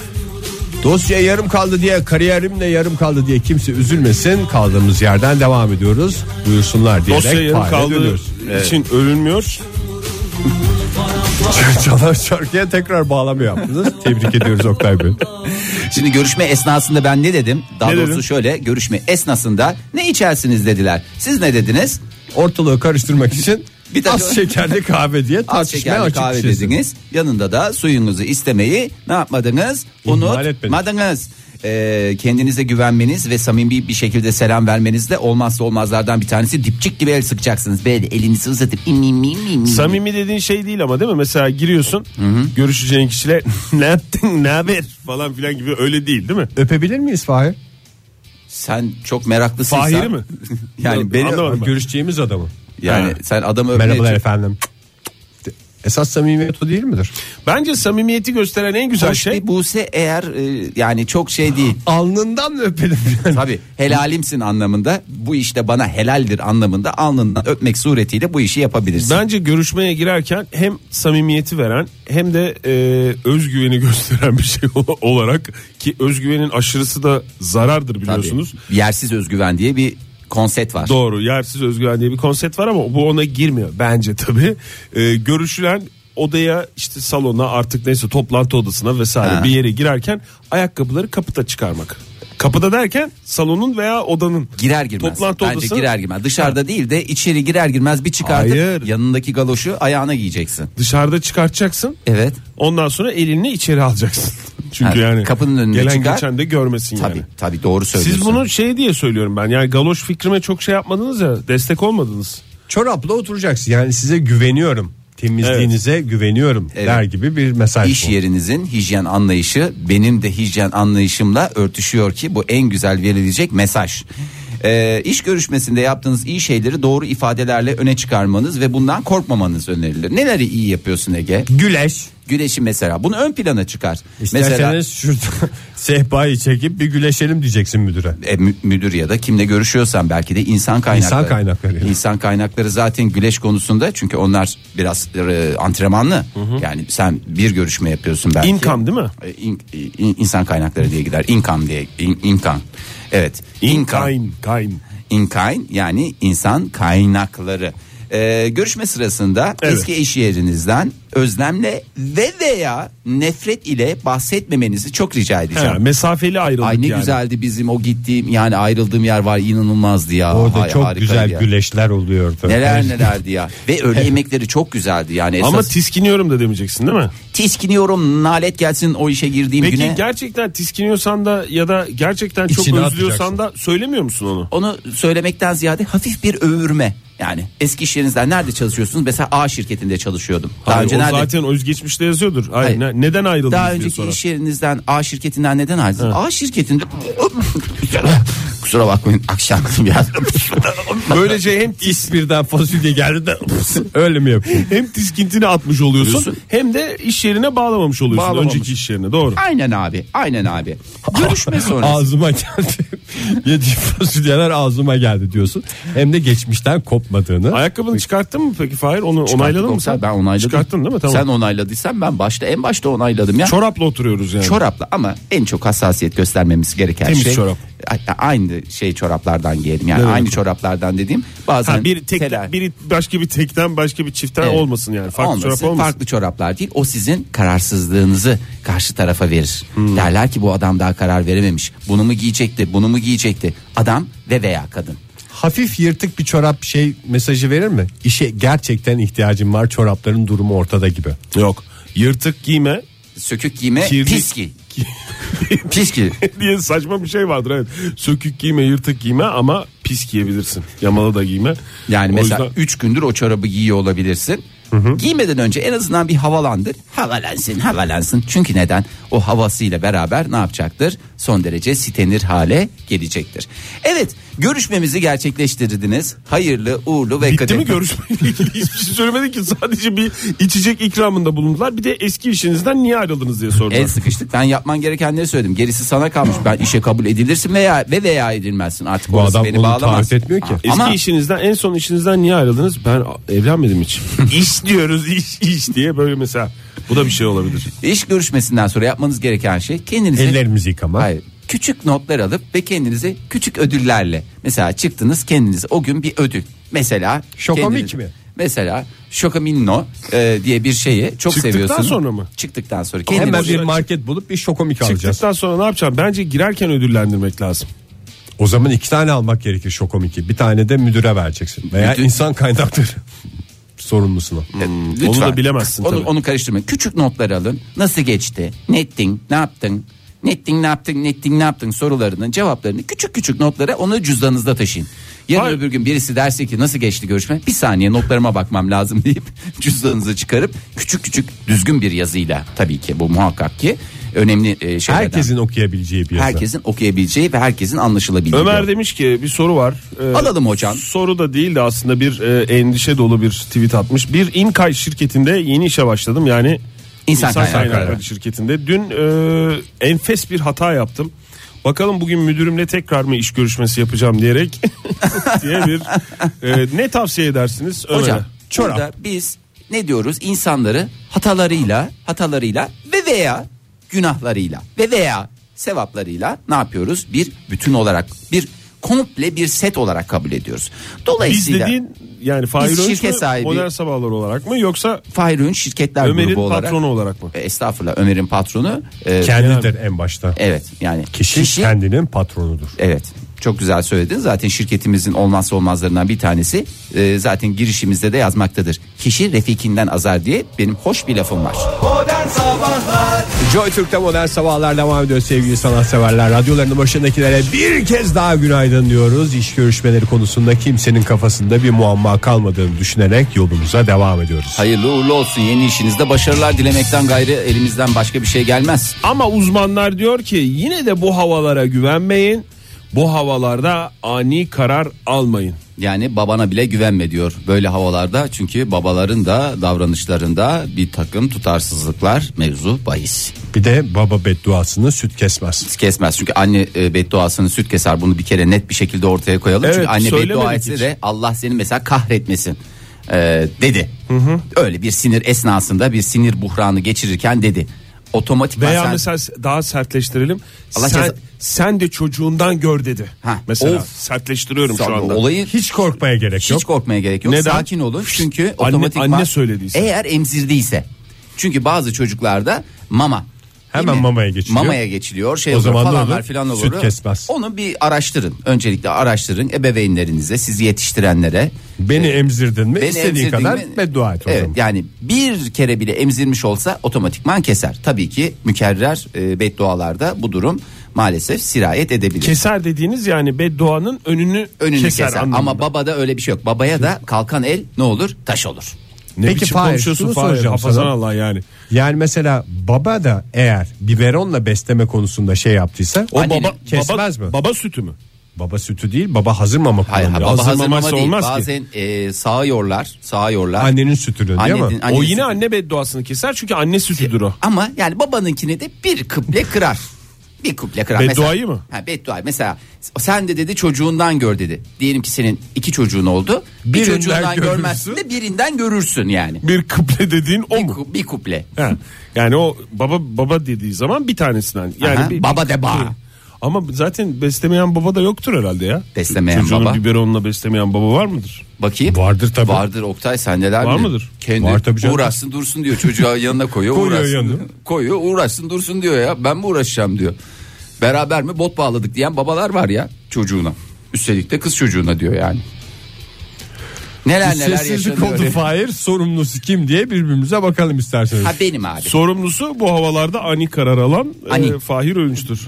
E: Dosya yarım kaldı diye kariyerimle yarım kaldı diye kimse üzülmesin. Kaldığımız yerden devam ediyoruz. Buyursunlar diyerek
B: Dosya yarım
E: Fahri'ye
B: kaldığı
E: dönüyoruz. [LAUGHS]
B: için övünmüyor.
E: Çalar şarkıya tekrar bağlama yaptınız. Tebrik ediyoruz Oktay Bey.
D: Şimdi görüşme esnasında ben ne dedim? Daha
B: Ne
D: doğrusu
B: dedin?
D: şöyle görüşme esnasında ne içersiniz dediler. Siz ne dediniz?
E: Ortalığı karıştırmak için
D: Bir dakika.
E: az şekerli kahve diye
D: Az
E: tartışmaya
D: şekerli
E: açık
D: kahve
E: bir şey.
D: dediniz. Yanında da suyunuzu istemeyi ne yapmadınız?
E: İhmal
D: Unutmadınız. Ee, kendinize güvenmeniz ve samimi bir şekilde selam vermeniz de olmazsa olmazlardan bir tanesi. Dipçik gibi el sıkacaksınız. Böyle elinizi uzatıp im, im, im, im, im.
B: Samimi dediğin şey değil ama değil mi? Mesela giriyorsun görüşeceğin kişiler [LAUGHS] ne yaptın ne haber falan filan gibi öyle değil değil mi?
E: Öpebilir miyiz Fahir?
D: Sen çok meraklısın.
B: Fahiri mi?
D: [LAUGHS] yani beni
B: Anlamadım ben.
E: Görüşeceğimiz adamı.
D: yani
B: Ha.
D: sen adamı öpmeye
E: Merhabalar
D: çok-
E: efendim. Esas samimiyet o değil midir?
B: Bence samimiyeti gösteren en güzel
D: Hoş
B: şey
D: bir Buse eğer e, yani çok şey değil.
E: Alnından mı öpelim? Yani?
D: Tabi helalimsin anlamında bu işte bana helaldir anlamında alnından öpmek suretiyle bu işi yapabilirsin.
B: Bence görüşmeye girerken hem samimiyeti veren hem de e, özgüveni [LAUGHS] gösteren bir şey o- olarak ki özgüvenin aşırısı da zarardır
D: Tabii.
B: biliyorsunuz.
D: Yersiz özgüven diye bir konsept var.
B: Doğru yersiz özgüven diye bir konsept var ama bu ona girmiyor bence tabii. E, görüşülen odaya işte salona artık neyse toplantı odasına vesaire
D: Ha.
B: bir yere girerken ayakkabıları kapıda çıkarmak. Kapıda derken salonun veya odanın
D: Girer girmez.
B: toplantı
D: Bence
B: odası
D: girer girmez. Dışarıda değil de içeri girer girmez bir çıkartıp
B: Hayır.
D: yanındaki galoşu ayağına giyeceksin.
B: dışarıda çıkartacaksın.
D: Evet.
B: Ondan sonra elini içeri alacaksın. [LAUGHS] Çünkü
D: Ha,
B: yani
D: kapının önüne
B: gelen
D: çıkar.
B: geçen de görmesin
D: Tabi
B: yani.
D: tabi doğru söylüyorsun.
B: Siz bunu şey diye söylüyorum ben. Yani galoş fikrime çok şey yapmadınız ya, destek olmadınız.
E: Çorapla oturacaksın. Yani size güveniyorum. Temizliğinize güveniyorum der gibi bir mesaj
D: İş
E: bu.
D: yerinizin hijyen anlayışı benim de hijyen anlayışımla örtüşüyor ki bu en güzel verilecek mesaj. Ee, iş görüşmesinde yaptığınız iyi şeyleri doğru ifadelerle öne çıkarmanız ve bundan korkmamanız önerilir. Neleri iyi yapıyorsun Ege?
E: Güleş.
D: Güneşi mesela bunu ön plana çıkar.
E: İsterseniz
D: Mesela
E: şurada [LAUGHS] sehpayı çekip bir güleşelim diyeceksin müdüre.
D: e, mü- müdür ya da kimle görüşüyorsan belki de insan kaynakları.
E: İnsan kaynakları yani.
D: İnsan kaynakları zaten güleş konusunda çünkü onlar biraz e, antrenmanlı. Yani sen bir görüşme yapıyorsun belki.
B: İnkan değil mi?
D: E, in- in- insan kaynakları diye gider. İnkan diye. in- inkan. Evet.
B: Kayn, kayn.
D: İnkan yani insan kaynakları. Ee, Ee, görüşme sırasında
B: Evet.
D: eski eş yerinizden özlemle ve veya nefret ile bahsetmemenizi çok rica edeceğim.
B: He, mesafeli ayrıldık
D: Ay ne
B: yani.
D: güzeldi bizim o gittiğim yani ayrıldığım yer var inanılmazdı ya.
E: Orada
D: Ay,
E: çok
D: harikaydı
E: güzel
D: ya.
E: güleşler oluyordu.
D: Neler nelerdi ya. Ve öğle yemekleri çok güzeldi yani. Esas
B: Ama tiskiniyorum da demeyeceksin değil mi?
D: tiskiniyorum nalet gelsin o işe girdiğim
B: Peki
D: güne.
B: gerçekten tiskiniyorsan da ya da gerçekten çok
E: İçine
B: özlüyorsan
E: atacaksın.
B: da söylemiyor musun onu?
D: Onu söylemekten ziyade hafif bir övürme. Yani eski iş yerinizden nerede çalışıyorsunuz? Mesela A şirketinde çalışıyordum. Daha
B: Hayır,
D: önce
B: o
D: nerede?
B: zaten özgeçmişte yazıyordur. Hayır,
D: Hayır.
B: ne- neden ayrıldınız
D: Daha
B: diye
D: önceki
B: sonra.
D: iş yerinizden A şirketinden neden ayrıldınız? A şirketinde kusura bakmayın akşam [LAUGHS]
B: [LAUGHS]
D: biraz
E: Böylece şey hem birden fasulye geldi de öyle mi yapayım?
B: Hem tiskintini atmış oluyorsun
D: Diyorsun.
B: hem de iş yerine bağlamamış oluyorsun
D: Bağlamamış.
B: önceki iş yerine doğru.
D: Aynen abi, aynen abi.
B: [LAUGHS]
D: Görüşme sonrası.
E: Ağzıma [LAUGHS] geldi. Yediğim fasulyeler ağzıma geldi diyorsun. Hem de geçmişten kopmadığını.
B: Ayakkabını çıkarttın mı peki Fahir? Onu
D: Çıkarttık
B: onayladın mı
D: yoksa
B: sen?
D: Ben onayladım.
B: Çıkarttın değil mi? Tamam.
D: Sen onayladıysan ben başta en başta onayladım ya.
B: Çorapla oturuyoruz yani.
D: Çorapla ama en çok hassasiyet göstermemiz gereken
B: Temiz
D: şey
B: çorap.
D: Hatta aynı şey çoraplardan giyelim. Yani
B: Ne demek
D: aynı
B: o?
D: çoraplardan dediğim bazen
B: Ha, bir tek,
D: tela-
B: biri başka bir tekten başka bir çiften
D: Evet.
B: olmasın yani. Farklı
D: Olmasın,
B: çorap olmasın.
D: Farklı çoraplar değil. O sizin kararsızlığınızı karşı tarafa verir.
B: Hmm.
D: Derler ki bu adam daha karar verememiş. Bunu mu giyecekti, bunu mu giyecekti? Adam ve veya kadın.
E: Hafif yırtık bir çorap şey mesajı verir mi? İşe gerçekten ihtiyacım var çorapların durumu ortada gibi.
B: Yok. Yırtık giyme
D: Sökük giyme,
B: Kirli-
D: piski. piski.
B: [LAUGHS] diye saçma bir şey vardır evet. Sökük giyme, yırtık giyme ama pis giyebilirsin. Yamalı da giyme.
D: Yani
B: O
D: mesela
B: yüzden-
D: 3 gündür o çorabı giyiyor olabilirsin. Giymeden önce en azından bir havalandır. Havalansın, havalansın. Çünkü neden? O havasıyla beraber ne yapacaktır? Son derece sitenir hale gelecektir. Evet, görüşmemizi gerçekleştirdiniz. Hayırlı, uğurlu ve
B: Bitti
D: kadeh-
B: mi görüşmeyle
D: [LAUGHS]
B: ilgili hiçbir şey söylemedi ki sadece bir içecek ikramında bulundular. Bir de eski işinizden niye ayrıldınız diye sordular.
D: El sıkıştık. Ben yapman gerekenleri söyledim. Gerisi sana kalmış.
E: [LAUGHS]
D: Ben işe kabul edilirsin veya ve veya edilmezsin. Artık
E: Bu
D: orası
E: adam
D: beni
E: onu
D: bağlamaz.
E: tarif etmiyor ki.
B: Eski
D: Ama-
B: işinizden en son işinizden niye ayrıldınız? Ben a-
D: [LAUGHS]
B: evlenmedim hiç. iş diyoruz iş iş diye böyle mesela. Bu da bir şey olabilir.
D: İş görüşmesinden sonra yapmanız gereken şey kendinizi
E: Ellerimizi yıkama.
D: Hayır. Küçük notlar alıp ve kendinize küçük ödüllerle. Mesela çıktınız kendinize o gün bir ödül. Mesela
E: Şokomik
D: kendinize-
E: mi?
D: Mesela Şokaminno e, diye bir şeyi çok
B: Çıktıktan
D: seviyorsunuz.
B: sonra mı?
D: Çıktıktan sonra.
E: Hemen
D: kendinize-
E: bir market bulup bir şokomik alacağız.
B: Çıktıktan sonra ne yapacağım? Bence girerken ödüllendirmek lazım.
E: O zaman iki tane almak gerekir şokomiki. Bir tane de müdüre vereceksin. Veya
D: Müdür-
E: insan kaynakları [LAUGHS] sorumlusuna.
D: Lütfen.
B: Hmm, Onu da bilemezsin
D: Onu,
B: tabii.
D: onu karıştırmayın. Küçük notlar alın. Nasıl geçti? Ne ettin? Ne yaptın? Ne ettin? Ne yaptın? Ne ettin? Ne yaptın? Sorularının cevaplarını küçük küçük notlara onu cüzdanınızda taşıyın. Yarın
B: Hayır.
D: öbür gün birisi derse ki nasıl geçti görüşme? Bir saniye notlarıma bakmam lazım [LAUGHS] deyip cüzdanınızı çıkarıp küçük küçük düzgün bir yazıyla tabii ki bu muhakkak ki önemli e, şeylerden.
E: Herkesin okuyabileceği bir yazı.
D: herkesin okuyabileceği ve herkesin anlaşılabileceği.
B: Ömer demiş ki bir soru var. Ee,
D: Alalım hocam.
B: Soru da değil de aslında bir e, endişe dolu bir tweet atmış. Bir İMKAY şirketinde yeni işe başladım. Yani
D: İnsan kaynakları.
B: şirketinde. Dün e, enfes bir hata yaptım. Bakalım bugün müdürümle tekrar mı iş görüşmesi yapacağım diyerek [LAUGHS] diye bir e, ne tavsiye edersiniz Ömer'e?
D: Hocam burada biz ne diyoruz? İnsanları hatalarıyla, hatalarıyla ve veya günahlarıyla ve veya sevaplarıyla ne yapıyoruz? Bir bütün olarak, bir komple bir set olarak kabul ediyoruz.
B: Biz
D: Dolayısıyla
B: dediğin yani Fahir
D: Biz
B: Öğünç
D: şirket
B: mü,
D: sahibi-
B: modern sabahlar olarak mı yoksa
D: Fahir Öğünç şirketler
B: Ömer'in
D: grubu olarak.
B: patronu olarak mı?
D: E, Estağfurullah Ömer'in patronu. e,
E: Kendidir en başta.
D: evet yani
E: Kişi, kendinin patronudur.
D: Evet. Çok güzel söyledin. Zaten şirketimizin olmazsa olmazlarından bir tanesi e, zaten girişimizde de yazmaktadır. Kişi refikinden azar diye benim hoş bir lafım var.
C: Modern Sabahlar
E: E, Joy Türk'te modern sabahlar devam ediyor sevgili sanatseverler. Radyolarının başındakilere bir kez daha günaydın diyoruz. İş görüşmeleri konusunda kimsenin kafasında bir muamma kalmadığını düşünerek yolumuza devam ediyoruz.
D: Hayırlı uğurlu olsun yeni işinizde başarılar dilemekten gayrı elimizden başka bir şey gelmez.
B: Ama uzmanlar diyor ki yine de bu havalara güvenmeyin. Bu havalarda ani karar almayın.
D: Yani babana bile güvenme diyor böyle havalarda çünkü babaların da davranışlarında bir takım tutarsızlıklar mevzu bahis.
E: Bir de baba bedduasını süt kesmez.
D: Kesmez çünkü anne e, bedduasını süt keser bunu bir kere net bir şekilde ortaya koyalım.
B: Evet,
D: çünkü anne beddua
B: söylemedik
D: etse
B: hiç.
D: de Allah seni mesela kahretmesin e, dedi. Öyle bir sinir esnasında bir sinir buhranı geçirirken dedi. otomatik
B: Veya
D: sen-
B: mesela daha sertleştirelim.
D: Allah
B: sen,
D: ceza-
B: sen de çocuğundan gör dedi.
D: Ha,
B: Mesela
D: of.
B: sertleştiriyorum
D: Tabii
B: şu anda.
D: olayı
E: Hiç korkmaya gerek yok.
D: Hiç korkmaya gerek yok.
B: Neden?
D: Sakin olun çünkü
B: Anne-
D: otomatik
B: anne söylediyse.
D: Eğer emzirdiyse. Çünkü bazı çocuklarda mama değil
E: Hemen
D: mi?
E: mamaya geçiliyor.
D: Mamaya geçiliyor. Şey
E: O
D: olur,
E: zaman ne
D: falanlar
E: olur?
D: filan olur.
E: Süt kesmez.
D: Onu bir araştırın. Öncelikle araştırın ebeveynlerinize, sizi yetiştirenlere.
E: Beni emzirdin mi
D: Beni
E: istediğin
D: emzirdin
E: kadar
D: mi?
E: beddua et o
D: Evet,
E: zaman.
D: Yani bir kere bile emzirmiş olsa otomatikman keser. Tabii ki mükerrer e, beddualarda bu durum maalesef sirayet edebilir.
B: Keser dediğiniz yani bedduanın önünü,
D: Önünü keser,
B: keser, anlamında.
D: ama babada öyle bir şey yok. Babaya da kalkan el ne olur? Taş olur.
E: Ne
B: Peki
E: biçim
B: Fahir,
E: konuşuyorsun
B: şunu
E: Fahir?
B: soracağım
E: Hafızan
B: sana.
E: Allah yani. Yani mesela baba da eğer biberonla besleme konusunda şey yaptıysa
B: O
D: Annenin-
B: baba,
E: Kesmez
B: baba,
E: mi?
B: Baba sütü mü?
E: baba sütü değil baba hazır mama
D: Hayır,
E: kullanıyor.
D: baba
B: hazır
D: hazır mama
B: mamaysa
D: değil.
B: olmaz ki.
D: Bazen e, sağıyorlar, sağıyorlar.
E: Annenin sütünü değil mi?
D: Annenin- anne
B: o yine
D: sütü.
B: anne bedduasını keser çünkü anne sütüdür o.
D: Ama yani babanınkini de bir kıble kırar. Bir kıble kırar.
B: Bedduayı
D: Mesela-
B: mı?
D: Ha, bedduayı. Mesela sen de dedi çocuğundan gör dedi. Diyelim ki senin iki çocuğun oldu. Bir
E: Birinden
D: çocuğundan
E: görürsün.
D: görmezsin de birinden görürsün yani.
B: Bir kıble dediğin o
D: Bir,
B: mu?
D: ku- bir kuple.
B: He. Yani o baba baba dediği zaman bir tanesinden. Yani
D: Aha,
B: bir-
D: baba de bağ.
B: Ama zaten beslemeyen baba da yoktur herhalde ya.
D: Beslemeyen
B: Çocuğunu
D: baba.
B: biberonla beslemeyen baba var mıdır?
D: Bakayım.
E: Vardır tabii.
D: Vardır Oktay sen neler
B: Var
D: bilir?
B: mıdır?
D: Kendi
E: Var tabii canım.
D: uğraşsın dursun diyor çocuğa yanına koyuyor.
E: [LAUGHS] Koyuyor
D: uğraşsın.
E: yanına.
D: Koyuyor uğraşsın dursun diyor ya ben mi uğraşacağım diyor. Beraber mi bot bağladık diyen babalar var ya çocuğuna. Üstelik de kız çocuğuna diyor yani. Neler neler
E: Sessizlik
D: yaşanıyor.
E: oldu Fahir sorumlusu kim diye birbirimize bakalım isterseniz.
D: Ha benim abi.
B: Sorumlusu bu havalarda ani karar alan
D: Ani.
B: e, Fahir Önç'tür.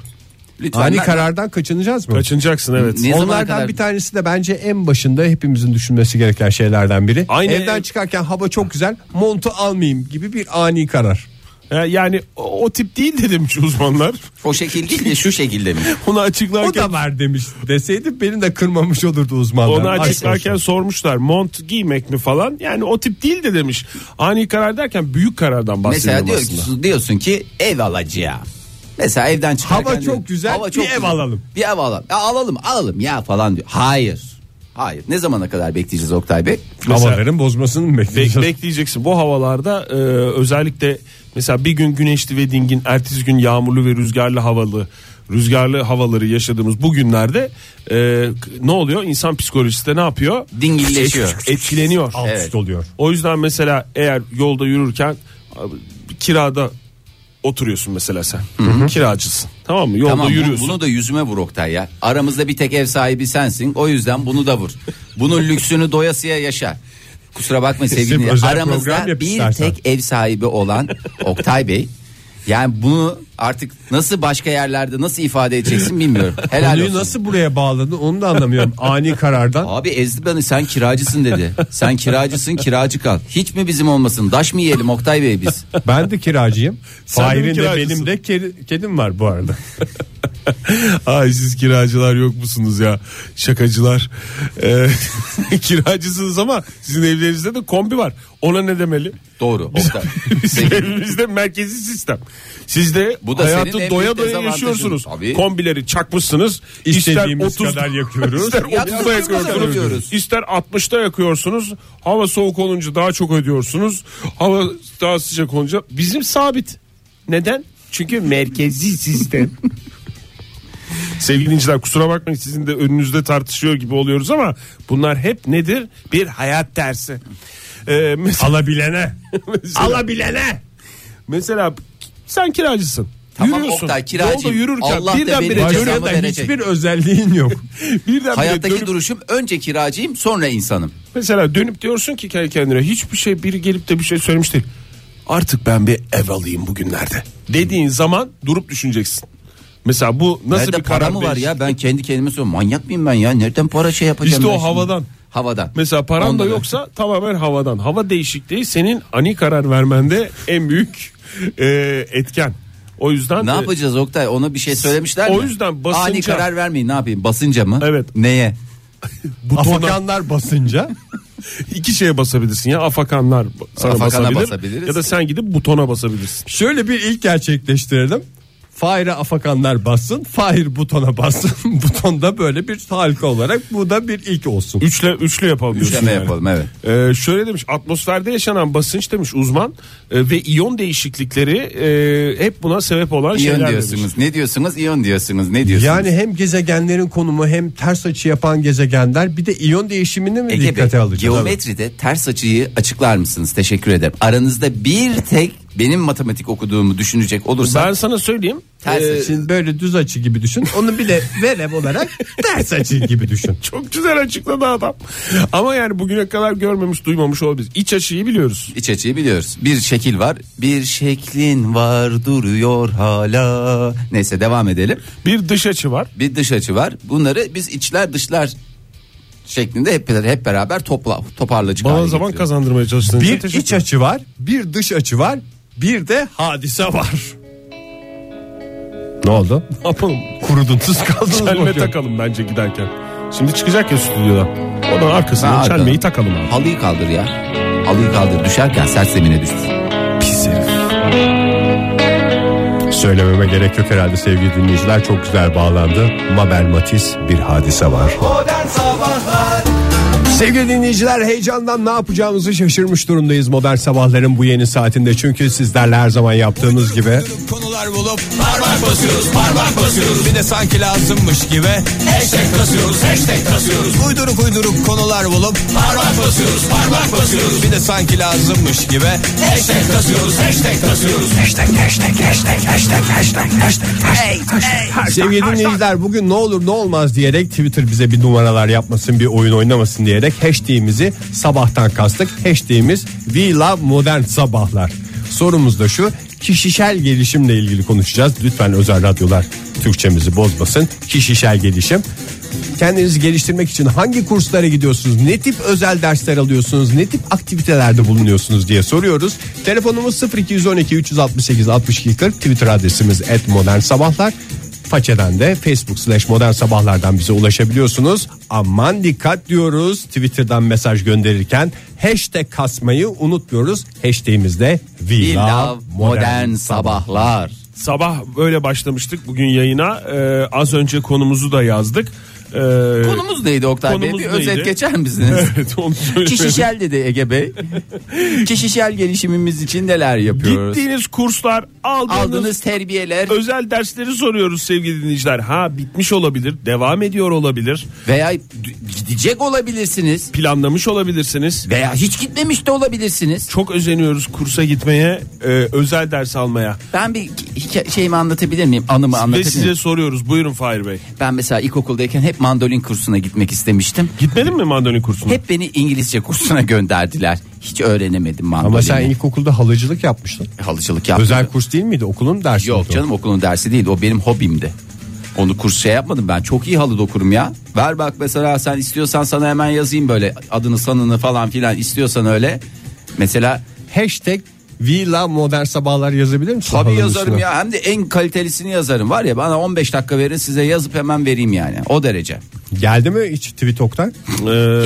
D: Lütfen
E: Ani
D: ben-
E: karardan kaçınacağız mı?
B: Kaçınacaksın evet.
D: Ne zamana
E: Onlardan
D: kadar-
E: bir tanesi de bence en başında hepimizin düşünmesi gereken şeylerden biri.
B: Aynı
E: Evden
B: ev-
E: çıkarken hava çok güzel montu almayayım gibi bir ani karar.
B: E, Yani o, o tip değil de demiş uzmanlar. [LAUGHS]
D: O şekil değil de şu şekilde mi?
B: Onu
E: O
B: açıklarken
E: da var demiş deseydi beni de kırmamış olurdu uzmanlar.
B: Onu
E: Aşk
B: açıklarken
E: olsun.
B: sormuşlar mont giymek mi falan yani o tip değil de demiş. Ani karar derken büyük karardan
D: Mesela
B: bahsediyorum
D: diyor,
B: aslında.
D: ki- diyorsun ki ev alacağım. Mesela evden çıkarken
E: Hava çok güzel, bir ev alalım.
D: Bir ev alalım. Ya alalım alalım ya falan diyor. Hayır. Hayır. Ne zamana kadar bekleyeceğiz Oktay Bey?
B: Mesela-
E: havaların bozmasını mı
B: Bek-
E: bekleyeceğiz?
B: bekleyeceksin bu havalarda e, özellikle mesela bir gün güneşli ve dingin ertesi gün yağmurlu ve rüzgarlı havalı rüzgarlı havaları yaşadığımız bu günlerde e, ne oluyor İnsan psikolojisi de ne yapıyor
D: Dingilleşiyor.
B: etkileniyor
E: Alt
D: Evet.
E: üst oluyor.
B: o yüzden mesela eğer yolda yürürken abi, kirada oturuyorsun mesela sen kiracısın tamam mı yolda
D: Tamam bu-
B: yürüyorsun
D: bunu da yüzüme vur Oktay ya. Aramızda bir tek ev sahibi sensin. O yüzden bunu da vur. Bunun lüksünü doyasıya yaşa. Kusura bakma sevgili
E: Bizim
D: dinleyen.
E: özel
D: Aramızda
E: program yap
D: bir
E: istersen.
D: tek ev sahibi olan Oktay Bey. Yani bunu artık nasıl başka yerlerde nasıl ifade edeceksin bilmiyorum. Helal
E: Konuyu
D: olsun.
E: nasıl buraya bağladın onu da anlamıyorum.
D: [LAUGHS]
E: ani karardan.
D: Abi ezdi beni sen kiracısın dedi. Sen kiracısın kiracı kal. Hiç mi bizim olmasın? Daş mı yiyelim Oktay Bey biz?
E: Ben de kiracıyım.
B: [LAUGHS] Sen de mi
E: Fahir'in de
B: kiracısın?
E: benim de kedi- kedim var bu arada.
B: [LAUGHS] Ay siz kiracılar yok musunuz ya şakacılar Ee, [LAUGHS] kiracısınız ama sizin evlerinizde de kombi var ona ne demeli
D: Doğru.
B: [LAUGHS]
D: Oktay.
B: Bizim evimizde merkezi sistem sizde
D: Bu da
B: hayatı
D: senin en
B: doya
D: büyük
B: doya
D: dezavantajın.
B: yaşıyorsunuz
D: Tabii.
B: kombileri çakmışsınız ister
E: İstediğimiz
B: 30
E: kadar yakıyoruz.
B: ister
D: Yakıyoruz,
B: 30'da yakıyorsunuz
D: yakıyoruz.
B: ister 60'da yakıyorsunuz hava soğuk olunca daha çok ödüyorsunuz hava daha sıcak olunca bizim sabit neden çünkü merkezi sistem Sevgili dinleyiciler kusura bakmayın sizin de önünüzde tartışıyor gibi oluyoruz ama bunlar hep nedir? Bir hayat dersi. Ee, mesela, [LAUGHS] Alabilene. Alabilene. Mesela sen kiracısın.
D: Tamam
B: Yürüyorsun.
D: Oktay, kiracıyım.
B: Yolda yürürken
D: Allah da
B: birdenbire
D: benim
B: dönüp-
D: cezamı
E: Şurada
D: verecek.
E: hiçbir özelliğin yok.
B: [LAUGHS] birdenbire
D: Hayattaki
B: dönüp,
D: duruşum önce kiracıyım sonra insanım.
B: mesela dönüp diyorsun ki kendi kendine hiçbir şey biri gelip de bir şey söylemiş değil. Artık ben bir ev alayım bugünlerde. Dediğin zaman durup düşüneceksin. Mesela bu nasıl
D: Nerede
B: bir
D: para
B: karar
D: mı var
B: verici?
D: ya? Ben kendi kendime soruyorum. Manyak mıyım ben ya? Nereden para şey yapacağım? ben
B: İşte o
D: şimdi?
B: havadan.
D: Havadan.
B: Mesela paran
D: Ondan
B: da yoksa tamamen havadan. Hava değişikliği senin ani karar vermende en büyük e, etken. O yüzden
D: Ne
B: e,
D: yapacağız Oktay? Ona bir şey söylemişler
B: O
D: mi?
B: yüzden basınca-
D: Ani karar vermeyin. Ne yapayım? Basınca mı?
B: Evet.
D: Neye?
B: butona
E: Afakanlar basınca
B: iki şeye basabilirsin ya afakanlar sana
D: Afakana
B: basabilir
D: basabiliriz.
B: ya da sen gidip butona basabilirsin.
E: şöyle bir ilk gerçekleştirelim. Fahir'e afakanlar bassın. Fahir butona bassın. [LAUGHS] Butonda böyle bir halka olarak bu da bir ilk olsun.
B: Üçle, üçlü yapalım. diyorsun
D: Üçleme
B: yani.
D: yapalım evet.
B: Ee, şöyle demiş atmosferde yaşanan basınç demiş uzman e, ve iyon değişiklikleri e, hep buna sebep olan
D: İyon
B: şeyler
D: diyorsunuz.
B: demiş.
D: Ne diyorsunuz? İyon diyorsunuz. Ne diyorsunuz?
E: Yani hem gezegenlerin konumu hem ters açı yapan gezegenler bir de iyon değişimini mi
D: Ege
E: dikkate
D: Bey,
E: alacağız?
D: geometride ters açıyı açıklar mısınız? Teşekkür ederim. Aranızda bir tek benim matematik okuduğumu düşünecek olursa
B: Ben sana söyleyeyim [LAUGHS]
D: ters
E: Ee,
D: açı.
E: Şimdi böyle düz açı gibi düşün. Onu bir de verem olarak ters açı gibi düşün.
B: çok güzel açıkladı adam ama yani bugüne kadar görmemiş duymamış olabiliriz iç açıyı biliyoruz.
D: İç açıyı biliyoruz. Bir şekil var. Bir şeklin var duruyor hala. Neyse devam edelim.
B: Bir dış açı var
D: Bir dış açı var. Bunları biz içler dışlar şeklinde hep hep beraber topla toparlayıcı
B: bana
D: hale
B: zaman
D: getiriyoruz.
B: kazandırmaya çalıştığın için
E: Bir
B: teşekkür
E: iç açı var, bir dış açı var, bir de hadise var. Ne oldu?
B: Ne yapalım?
E: Kurudunuz [LAUGHS] kaldınız
B: Çelme
E: bakıyorum.
B: takalım bence giderken. Şimdi çıkacak ya stüdyodan. Onun arkasına
D: Ha,
B: çelmeyi
D: arkadan.
B: takalım abi.
D: Halıyı kaldır ya. Halıyı kaldır düşerken sert zemine düşsün.
E: Pis herif. Söylememe gerek yok herhalde sevgili dinleyiciler. Çok güzel bağlandı. Mabel Matiz bir hadise var.
C: Modern Sabahlar
E: Sevgili dinleyiciler heyecandan ne yapacağımızı şaşırmış durumdayız modern sabahların bu yeni saatinde. Çünkü sizlerle her zaman yaptığımız gibi
G: Konular bulup parmak basıyoruz parmak basıyoruz Bir de sanki lazımmış gibi Hashtag kasıyoruz hashtag kasıyoruz Uyduruk uyduruk konular bulup parmak basıyoruz parmak basıyoruz Bir de sanki lazımmış gibi Hashtag kasıyoruz hashtag kasıyoruz Hashtag hashtag hashtag hashtag hashtag hashtag
E: sevgili dinleyiciler bugün ne olur ne olmaz diyerek Twitter bize bir numaralar yapmasın bir oyun oynamasın diyerek hashtag'imizi sabahtan kastık. Hashtag'imiz We Love Modern Sabahlar. Sorumuz da şu kişisel gelişimle ilgili konuşacağız. Lütfen özel radyolar Türkçemizi bozmasın. Kişisel gelişim. Kendinizi geliştirmek için hangi kurslara gidiyorsunuz? Ne tip özel dersler alıyorsunuz? Ne tip aktivitelerde bulunuyorsunuz diye soruyoruz. Telefonumuz 0212 368 62 40. Twitter adresimiz @modernsabahlar. Façeden de Facebook slash modern sabahlardan bize ulaşabiliyorsunuz. Aman dikkat diyoruz. Twitter'dan mesaj gönderirken hashtag kasmayı unutmuyoruz. Hashtag'imizde We Love Modern
D: modern sabahlar.
B: Sabah böyle başlamıştık bugün yayına. Ee, az önce konumuzu da yazdık. Ee,
D: Konumuz neydi Oktay Bey?
B: konumuz
D: Bir özet
B: neydi?
D: geçer misiniz?
B: [LAUGHS] Evet, onu söyleyelim.
D: Kişisel dedi Ege Bey. Kişisel gelişimimiz için neler yapıyoruz?
B: Gittiğiniz kurslar aldığınız,
D: Aldığınız terbiyeler
B: özel dersleri soruyoruz sevgili dinleyiciler. Ha bitmiş olabilir, devam ediyor olabilir,
D: veya d- gidecek olabilirsiniz
B: planlamış olabilirsiniz.
D: veya hiç gitmemiş de olabilirsiniz.
B: Çok özeniyoruz kursa gitmeye, e, özel ders almaya.
D: Ben bir hikaye, şeyimi anlatabilir miyim? Anımı
B: Ve
D: anlatabilir
B: size
D: miyim?
B: soruyoruz. Buyurun Fahir Bey.
D: Ben mesela ilkokuldayken hep mandolin kursuna gitmek istemiştim.
B: Gitmedin mi mandolin kursuna?
D: Hep beni İngilizce kursuna [LAUGHS] gönderdiler. Hiç öğrenemedim mandolini.
E: Ama sen ilkokulda halıcılık yapmıştın.
D: halıcılık yaptın.
E: Özel kurs değil miydi? Okulun dersi miydi
D: Yok
E: o?
D: canım okulun dersi değil o benim hobimdi. Onu kurs şey yapmadım ben çok iyi halı dokurum ya. Ver bak mesela sen istiyorsan sana hemen yazayım böyle adını sanını falan filan istiyorsan öyle. Mesela
E: Hashtag Villa Modern Sabahlar yazabilir misin?
D: tabii
E: halının
D: yazarım
E: üstüne?
D: ya hem de en kalitelisini yazarım var ya bana 15 dakika verin size yazıp hemen vereyim yani o derece.
E: Geldi mi hiç tweet Oktay?
B: Ee,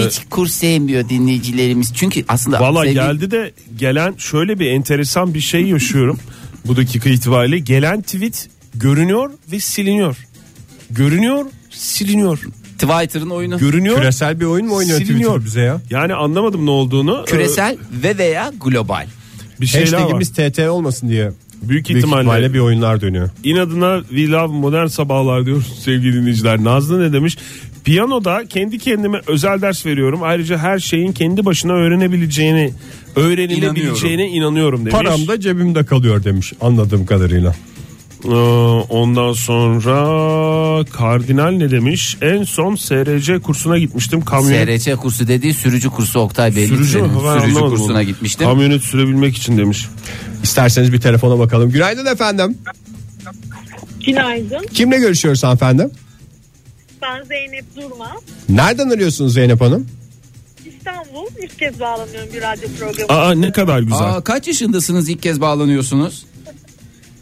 D: Hiç kurs sevmiyor dinleyicilerimiz çünkü aslında
B: Valla
D: sevgili-
B: geldi de gelen şöyle bir enteresan bir şey yaşıyorum bu dakika itibariyle. Gelen tweet görünüyor ve siliniyor. Görünüyor, siliniyor.
D: Twitter'ın oyunu
B: Görünüyor.
E: Küresel bir oyun mu oynuyor
B: siliniyor.
E: Twitter bize ya?
B: Yani anlamadım ne olduğunu.
D: küresel ve veya global.
B: Ee, bir şeyler var.
E: Hashtag'imiz TT olmasın diye.
B: Büyük
E: Büyük
B: ihtimalle, E,
E: ihtimalle bir oyunlar dönüyor.
B: inadına We Love Modern Sabahlar diyoruz sevgili dinleyiciler. Nazlı ne demiş? Piyanoda kendi kendime özel ders veriyorum. Ayrıca her şeyin kendi başına öğrenebileceğini, öğrenilebileceğine inanıyorum, demiş.
E: Param da cebimde kalıyor demiş anladığım kadarıyla.
B: Ee, ondan sonra kardinal ne demiş? En son SRC kursuna gitmiştim. Kamyonet
D: SRC kursu dediği sürücü kursu Oktay Bey.
B: sürücü mü?
D: Sürücü,
B: Ben anlamadım
D: kursuna
B: onu.
D: gitmiştim.
B: Kamyonet sürebilmek için demiş.
E: İsterseniz bir telefona bakalım. Günaydın efendim.
H: Günaydın.
E: Kimle görüşüyoruz hanımefendi?
H: Ben Zeynep Durmaz.
E: Nereden arıyorsunuz Zeynep Hanım?
H: İstanbul ilk kez bağlanıyorum bir radyo programı.
B: Aa ne kadar güzel.
D: Aa, kaç yaşındasınız ilk kez bağlanıyorsunuz?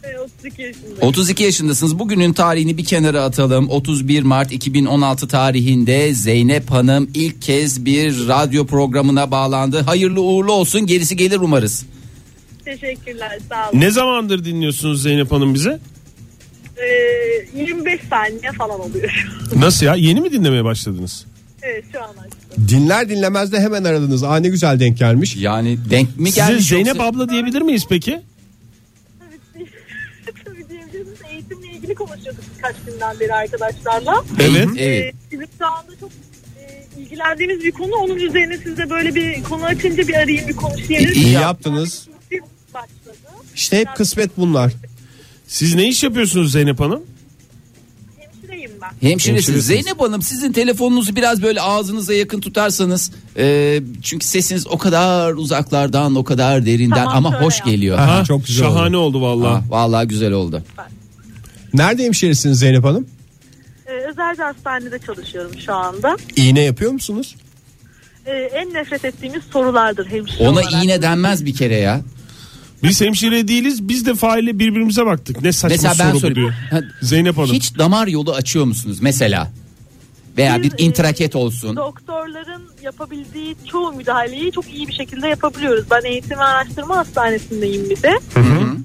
H: Ee, 32 yaşındayım.
D: 32 yaşındasınız. Bugünün tarihini bir kenara atalım. 31 Mart 2016 tarihinde Zeynep Hanım ilk kez bir radyo programına bağlandı. Hayırlı uğurlu olsun. Gerisi gelir umarız.
H: Teşekkürler sağ olun.
B: Ne zamandır dinliyorsunuz Zeynep Hanım bize?
H: e, 25 saniye falan oluyor.
B: Nasıl ya? Yeni mi dinlemeye başladınız?
H: [LAUGHS] evet şu an açtım. [LAUGHS]
E: Dinler dinlemez de hemen aradınız. Aa ne güzel denk gelmiş.
D: Yani denk mi
B: Size
D: gelmiş
B: Zeynep
D: yoksa-
B: abla diyebilir miyiz peki?
H: Tabii, değil- tabii diyebiliriz. Eğitimle ilgili konuşuyorduk birkaç günden beri arkadaşlarla.
B: Evet.
D: Evet.
H: E, Bizim şu anda çok e, ilgilendiğimiz bir konu. Onun üzerine siz de böyle bir konu açınca bir arayın bir konuşayım.
E: İyi yaptınız.
H: Bir başladı.
E: İşte hep kısmet bunlar.
B: Siz ne iş yapıyorsunuz Zeynep Hanım?
H: Hemşireyim ben.
D: Hemşiresiniz.
B: Hemşiresiniz.
D: Zeynep Hanım sizin telefonunuzu biraz böyle ağzınıza yakın tutarsanız e, çünkü sesiniz o kadar uzaklardan o kadar derinden
H: Tamam,
D: ama
H: şöyle
D: hoş
H: yap.
D: geliyor.
B: Ha,
E: çok güzel
B: şahane oldu, vallahi.
D: Ah, vallahi güzel oldu.
E: Nerede hemşiresiniz Zeynep Hanım?
H: E, özel bir hastanede çalışıyorum şu anda.
E: İğne yapıyor musunuz?
H: E, en nefret ettiğimiz sorulardır hemşire
D: Ona
H: olarak.
D: iğne denmez bir kere ya.
B: Biz hemşire değiliz. Biz de faile birbirimize baktık. Ne saçma
D: Mesela ben
B: soru bu
D: soruyorum.
B: diyor. Zeynep Hanım.
D: Hiç damar yolu açıyor musunuz mesela? Veya bir
H: Biz, e,
D: intraket olsun.
H: Doktorların yapabildiği çoğu müdahaleyi çok iyi bir şekilde yapabiliyoruz. Ben eğitim ve araştırma hastanesindeyim bir de.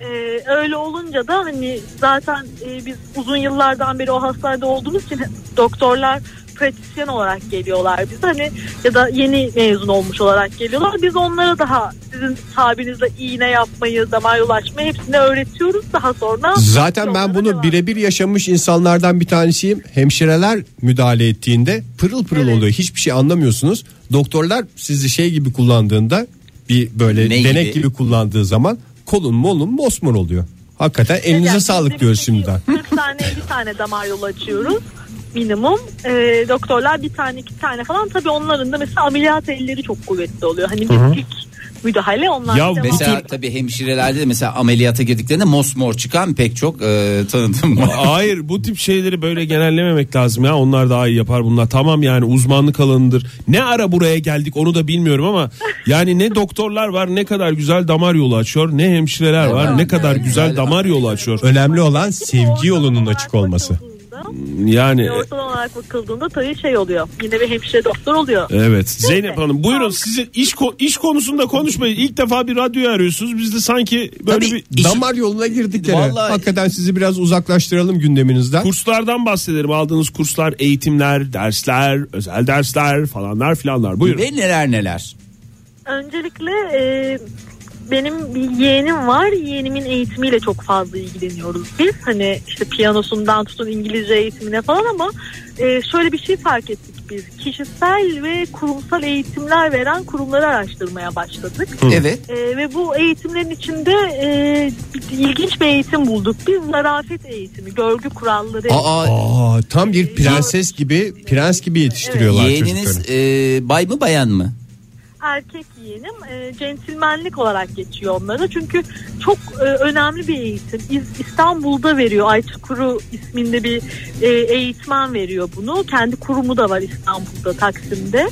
H: Ee, öyle olunca da hani zaten e, biz uzun yıllardan beri o hastanede olduğumuz için doktorlar pratisyen olarak geliyorlar bize hani ya da yeni mezun olmuş olarak geliyorlar. Biz onlara daha sizin tabirinizle iğne yapmayı, damar yolu açmayı hepsini öğretiyoruz daha sonra.
E: Zaten
H: biz
E: ben
H: onlara
E: bunu
H: devam
E: birebir yaşamış insanlardan bir tanesiyim. Hemşireler müdahale ettiğinde pırıl pırıl
H: Evet.
E: oluyor. Hiçbir şey anlamıyorsunuz. Doktorlar sizi şey gibi kullandığında bir böyle
D: Ne
E: denek
D: gibi?
E: gibi? kullandığı zaman kolun molun mosmor oluyor. Hakikaten elinize
H: Yani
E: sağlık
H: biz
E: diyoruz
H: peki
E: şimdiden.
H: 40 tane 50 tane damar yolu açıyoruz minimum. Ee, doktorlar bir tane iki tane falan. Tabii onların da mesela ameliyat elleri çok kuvvetli oluyor. Hani biz ilk müdahale onlar.
B: Ya
H: devam-
D: Mesela tabii hemşirelerde de mesela ameliyata girdiklerinde mosmor çıkan pek çok e, tanıdığım var.
B: Hayır bu tip şeyleri böyle genellememek lazım ya. Onlar daha iyi yapar bunlar. Tamam yani uzmanlık alanıdır. Ne ara buraya geldik onu da bilmiyorum ama yani ne doktorlar var ne kadar güzel damar yolu açıyor. Ne hemşireler var ne kadar güzel damar yolu açıyor.
E: Önemli olan
H: Ortalama
E: sevgi yolunun
H: olarak
E: açık olması.
H: bakıldığında-
B: Yani
H: Ortalama olarak bakıldığında tabii şey oluyor. Yine bir hemşire doktor oluyor.
B: evet. Zeynep Hanım buyurun sizin iş ko- iş konusunda konuşmayın. İlk defa bir radyoyu arıyorsunuz. Biz de sanki böyle
D: Tabii
B: bir
E: Damar yoluna girdik gene.
D: Vallahi-
E: Hakikaten sizi biraz uzaklaştıralım gündeminizden.
B: kurslardan bahsedelim. Aldığınız kurslar, eğitimler, dersler, özel dersler falanlar filanlar. Buyurun.
D: Ve neler neler.
H: Öncelikle e, benim bir yeğenim var. Yeğenimin eğitimiyle çok fazla ilgileniyoruz biz. Hani işte piyanosundan tutun İngilizce eğitimine falan ama e, şöyle bir şey fark ettik biz. Kişisel ve kurumsal eğitimler veren kurumları araştırmaya başladık.
D: Evet.
H: E, ve bu eğitimlerin içinde e, bir- ilginç bir eğitim bulduk. Biz zarafet eğitimi, görgü kuralları.
D: Aa,
E: Aa, tam bir prenses gibi prens gibi yetiştiriyorlar
D: yeğeniniz
E: çocukları.
D: e, bay mı bayan mı?
H: erkek yeğenim e, centilmenlik olarak geçiyor onlara. Çünkü çok e, önemli bir eğitim. İz- İstanbul'da veriyor. Ayça Kuru isminde bir e, eğitmen veriyor bunu. Kendi kurumu da var İstanbul'da Taksim'de.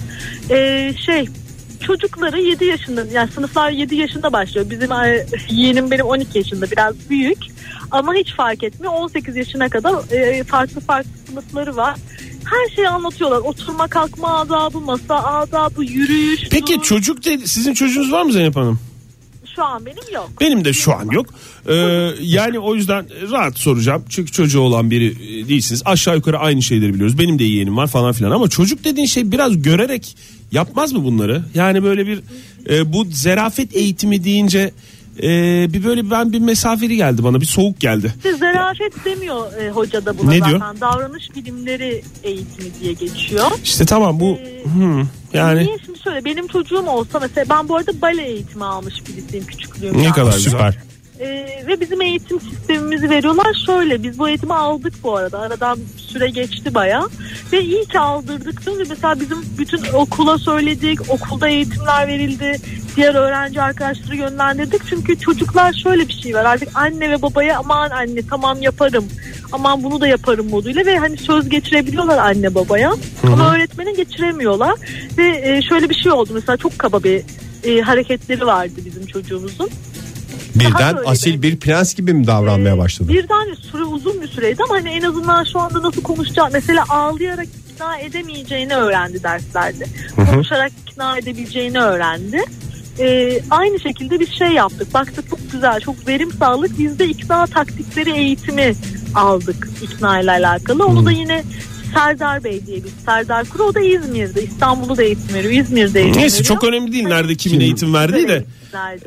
H: E, şey çocukları 7 yaşında yani sınıflar 7 yaşında başlıyor. Bizim e, yeğenim benim 12 yaşında biraz büyük ama hiç fark etmiyor. 18 yaşına kadar e, farklı farklı sınıfları var. Her şeyi anlatıyorlar. Oturma kalkma adabı, masa adabı, yürüyüş.
B: Peki
H: dur.
B: çocuk dedi, sizin çocuğunuz var mı Zeynep Hanım?
H: Şu an benim yok.
B: Benim de şu an yok. Ee, yani o yüzden rahat soracağım. Çünkü çocuğu olan biri e, değilsiniz. Aşağı yukarı aynı şeyleri biliyoruz. Benim de yeğenim var falan filan. Ama çocuk dediğin şey biraz görerek yapmaz mı bunları? Yani böyle bir e, bu zerafet eğitimi deyince e, bir böyle ben bir mesafeli geldi bana. Bir soğuk geldi.
H: İşte zarafet demiyor e, hoca da buna
B: Ne
H: zaten.
B: diyor?
H: Davranış bilimleri eğitimi diye geçiyor.
B: İşte tamam bu
H: Ee,
B: hmm, yani
H: Niye şimdi şöyle benim çocuğum olsa mesela ben bu arada bale eğitimi almış birisiyim küçüklüğümden.
B: ne kadar güzel.
E: Süper.
H: Ee, ve bizim eğitim sistemimizi veriyorlar. Şöyle biz bu eğitimi aldık bu arada. Aradan süre geçti baya. Ve iyi ki aldırdık. Çünkü mesela bizim bütün okula söyledik. Okulda eğitimler verildi. Diğer öğrenci arkadaşları yönlendirdik. Çünkü çocuklar şöyle bir şey var. Artık anne ve babaya aman anne tamam yaparım. Aman bunu da yaparım moduyla. Ve hani söz geçirebiliyorlar anne babaya. Ama öğretmene geçiremiyorlar. Ve e, şöyle bir şey oldu. Mesela çok kaba bir e, hareketleri vardı bizim çocuğumuzun.
E: Birden
H: böyle
E: asil
H: bir-
E: bir prens gibi mi
H: Ee,
E: davranmaya başladı?
H: Birden süre uzun bir süreydi ama hani en azından şu anda nasıl konuşacağı mesela ağlayarak ikna edemeyeceğini öğrendi derslerde. Konuşarak ikna edebileceğini öğrendi. Ee, aynı şekilde bir şey yaptık. Baktık çok güzel, çok verim sağlık. Biz de ikna taktikleri eğitimi aldık ikna ile alakalı. Onu da yine Serdar Bey diye bir Serdar Kuru o da İzmir'de İstanbul'u da eğitim veriyor İzmir'de eğitim
B: Neyse
H: veriyor.
B: çok önemli değil nerede kimin eğitim verdiği de.
H: Evet,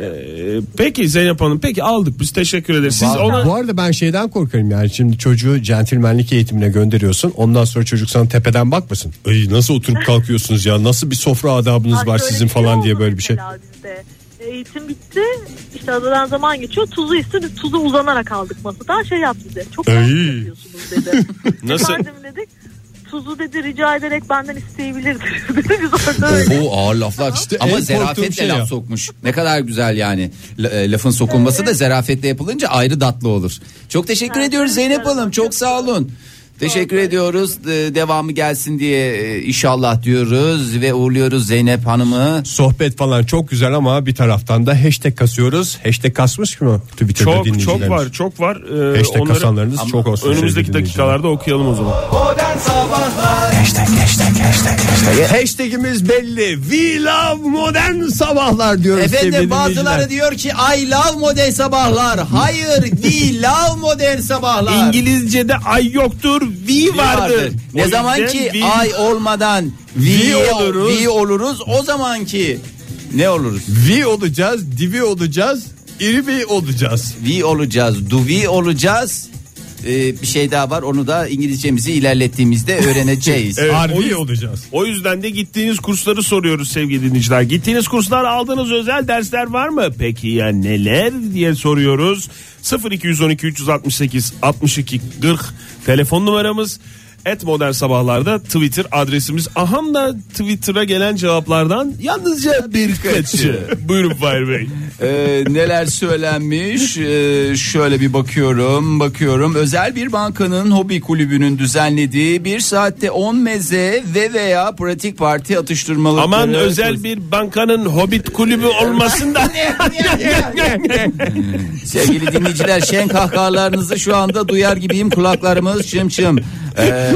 B: Ee, peki Zeynep Hanım peki aldık biz teşekkür ederiz. Siz ona
E: Bu arada ben şeyden korkarım yani şimdi çocuğu centilmenlik eğitimine gönderiyorsun ondan sonra çocuk sana tepeden bakmasın. Ey nasıl oturup kalkıyorsunuz ya nasıl bir sofra adabınız
H: Bak
E: var
H: böyle
E: sizin
H: bir şey
E: falan diye
H: oldu
E: böyle bir şey.
H: mesela bizde. E, Eğitim bitti. İşte aradan zaman geçiyor. Tuzu istedi. Tuzu uzanarak aldık masadan. Şey yaptı bize. Çok
B: Ay.
H: yanlış yapıyorsunuz
E: [LAUGHS]
H: dedi.
B: Nasıl?
H: Efendim dedik. Tuzu dedi rica ederek benden isteyebilirdiniz dedi. [LAUGHS] Biz orada öyle.
E: O ağır laflar işte
D: Ama zerafetle laf sokmuş. Ne kadar güzel yani. La- e, lafın sokulması da zerafetle yapılınca ayrı tatlı olur. Çok teşekkür
H: Evet,
D: ediyoruz
H: evet,
D: Zeynep Hanım.
H: evet.
D: Çok sağ olun. Teşekkür ediyoruz. E, Devamı gelsin diye e, inşallah diyoruz ve uğurluyoruz Zeynep Hanım'ı.
E: Sohbet falan çok güzel ama bir taraftan da hashtag kasıyoruz. Hashtag kasmış mı Twitter'da
B: çok çok
E: dinleyicilerimiz?
B: var çok var. Ee,
E: Hashtag kasanlarınız
D: Ama
E: çok olsun.
B: önümüzdeki
E: sevgili
B: dakikalarda okuyalım o zaman.
C: Modern Sabahlar
E: dinleyiciler. Hashtagimiz belli. We love modern sabahlar diyoruz sevgili
D: Efendim bazıları
E: dinleyiciler.
D: diyor ki I love modern sabahlar. Hayır we love modern sabahlar.
B: İngilizce'de ay yoktur, we
D: We vardır. Ne
B: O
D: zaman
B: yüzden
D: ki
B: we-
D: ay olmadan we,
E: We
D: oluruz.
E: oluruz.
D: we oluruz o zaman ki ne oluruz?
E: We olacağız, divi olacağız, iri bir olacağız.
D: We olacağız, do we olacağız. Ee, bir şey daha var onu da İngilizcemizi ilerlettiğimizde öğreneceğiz.
B: [LAUGHS] Evet, o
E: Harbi
B: yüzden-
E: olacağız.
B: O yüzden de gittiğiniz kursları soruyoruz sevgili dinleyiciler. Gittiğiniz kurslar aldığınız özel dersler var mı? Peki ya neler diye soruyoruz. 0212 368 62 40 telefon numaramız. Et modern sabahlarda Twitter adresimiz. Aham da Twitter'a gelen cevaplardan yalnızca birkaçı. Buyurun Fahir Bey.
D: Ee, neler söylenmiş Ee, şöyle bir bakıyorum bakıyorum özel bir bankanın hobi kulübünün düzenlediği bir saatte 10 meze ve veya pratik parti atıştırmalıkları
B: Aman özel bir bankanın hobbit kulübü olmasından.
D: Sevgili dinleyiciler şen kahkahalarınızı şu anda duyar gibiyim kulaklarımız çım çım. Ee,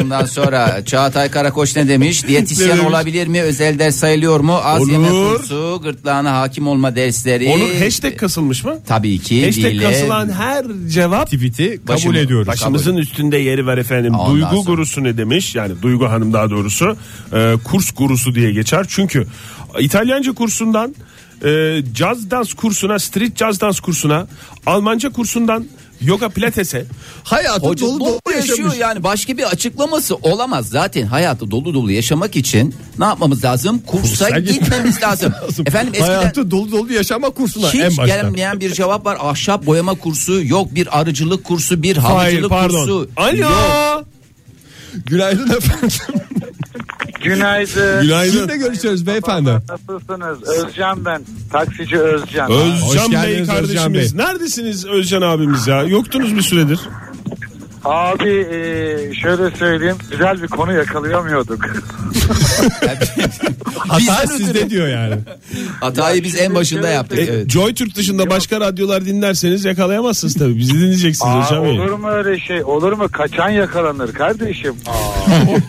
D: ondan sonra Çağatay Karakoç ne demiş? Diyetisyen olabilir mi? Özel ders sayılıyor mu? Az
B: Olur.
D: yeme kursu, gırtlağına hakim olma dersleri.
B: Onun hashtag kasılmış mı?
D: Tabii ki.
B: Hashtag
D: ile-
B: kasılan her cevap
E: Tweet'i kabul
D: Başımı-
E: ediyoruz.
B: Başımızın üstünde yeri var efendim.
D: Ondan
B: Duygu
D: sonra.
B: gurusu ne demiş? Yani Duygu Hanım daha doğrusu e, kurs gurusu diye geçer. Çünkü İtalyanca kursundan e, caz dans kursuna, street caz dans kursuna, Almanca kursundan yoga pilatese.
E: Hayatı
D: Hoca
E: dolu dolu yaşamış.
D: yaşıyor yani başka bir açıklaması olamaz zaten hayatı dolu dolu yaşamak için ne yapmamız lazım kursa
E: Kursa gitmemiz
D: gitmemiz lazım efendim eskiden
E: Hayatı dolu dolu yaşama kursuna en
D: Hiç
E: başta.
D: gelmeyen bir cevap var. Ahşap boyama kursu yok, bir arıcılık kursu, bir
B: Hayır
D: havcılık
B: pardon.
D: kursu. yok.
B: Alo.
E: Günaydın efendim.
I: Günaydın.
E: Günaydın. Kimle görüşüyoruz beyefendi?
I: Nasılsınız? Özcan ben. Taksici Özcan.
B: Özcan
E: Hoş
B: Bey
E: geldiniz
B: kardeşimiz.
E: Özcan Bey.
B: Neredesiniz Özcan abimiz ya? Yoktunuz bir süredir.
I: Abi e, şöyle söyleyeyim. Güzel bir konu yakalayamıyorduk.
E: Hata
D: ötürü.
E: sizde diyor yani.
D: Hatayı biz en başında yaptık. Evet.
B: Joy Türk dışında başka radyolar dinlerseniz yakalayamazsınız tabii. Bizi dinleyeceksiniz
I: Aa,
B: Özcan Bey.
I: olur mu öyle şey? Olur mu? Kaçan yakalanır kardeşim. Abi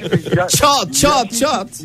I: şimdi ya-
D: Çat çat çat.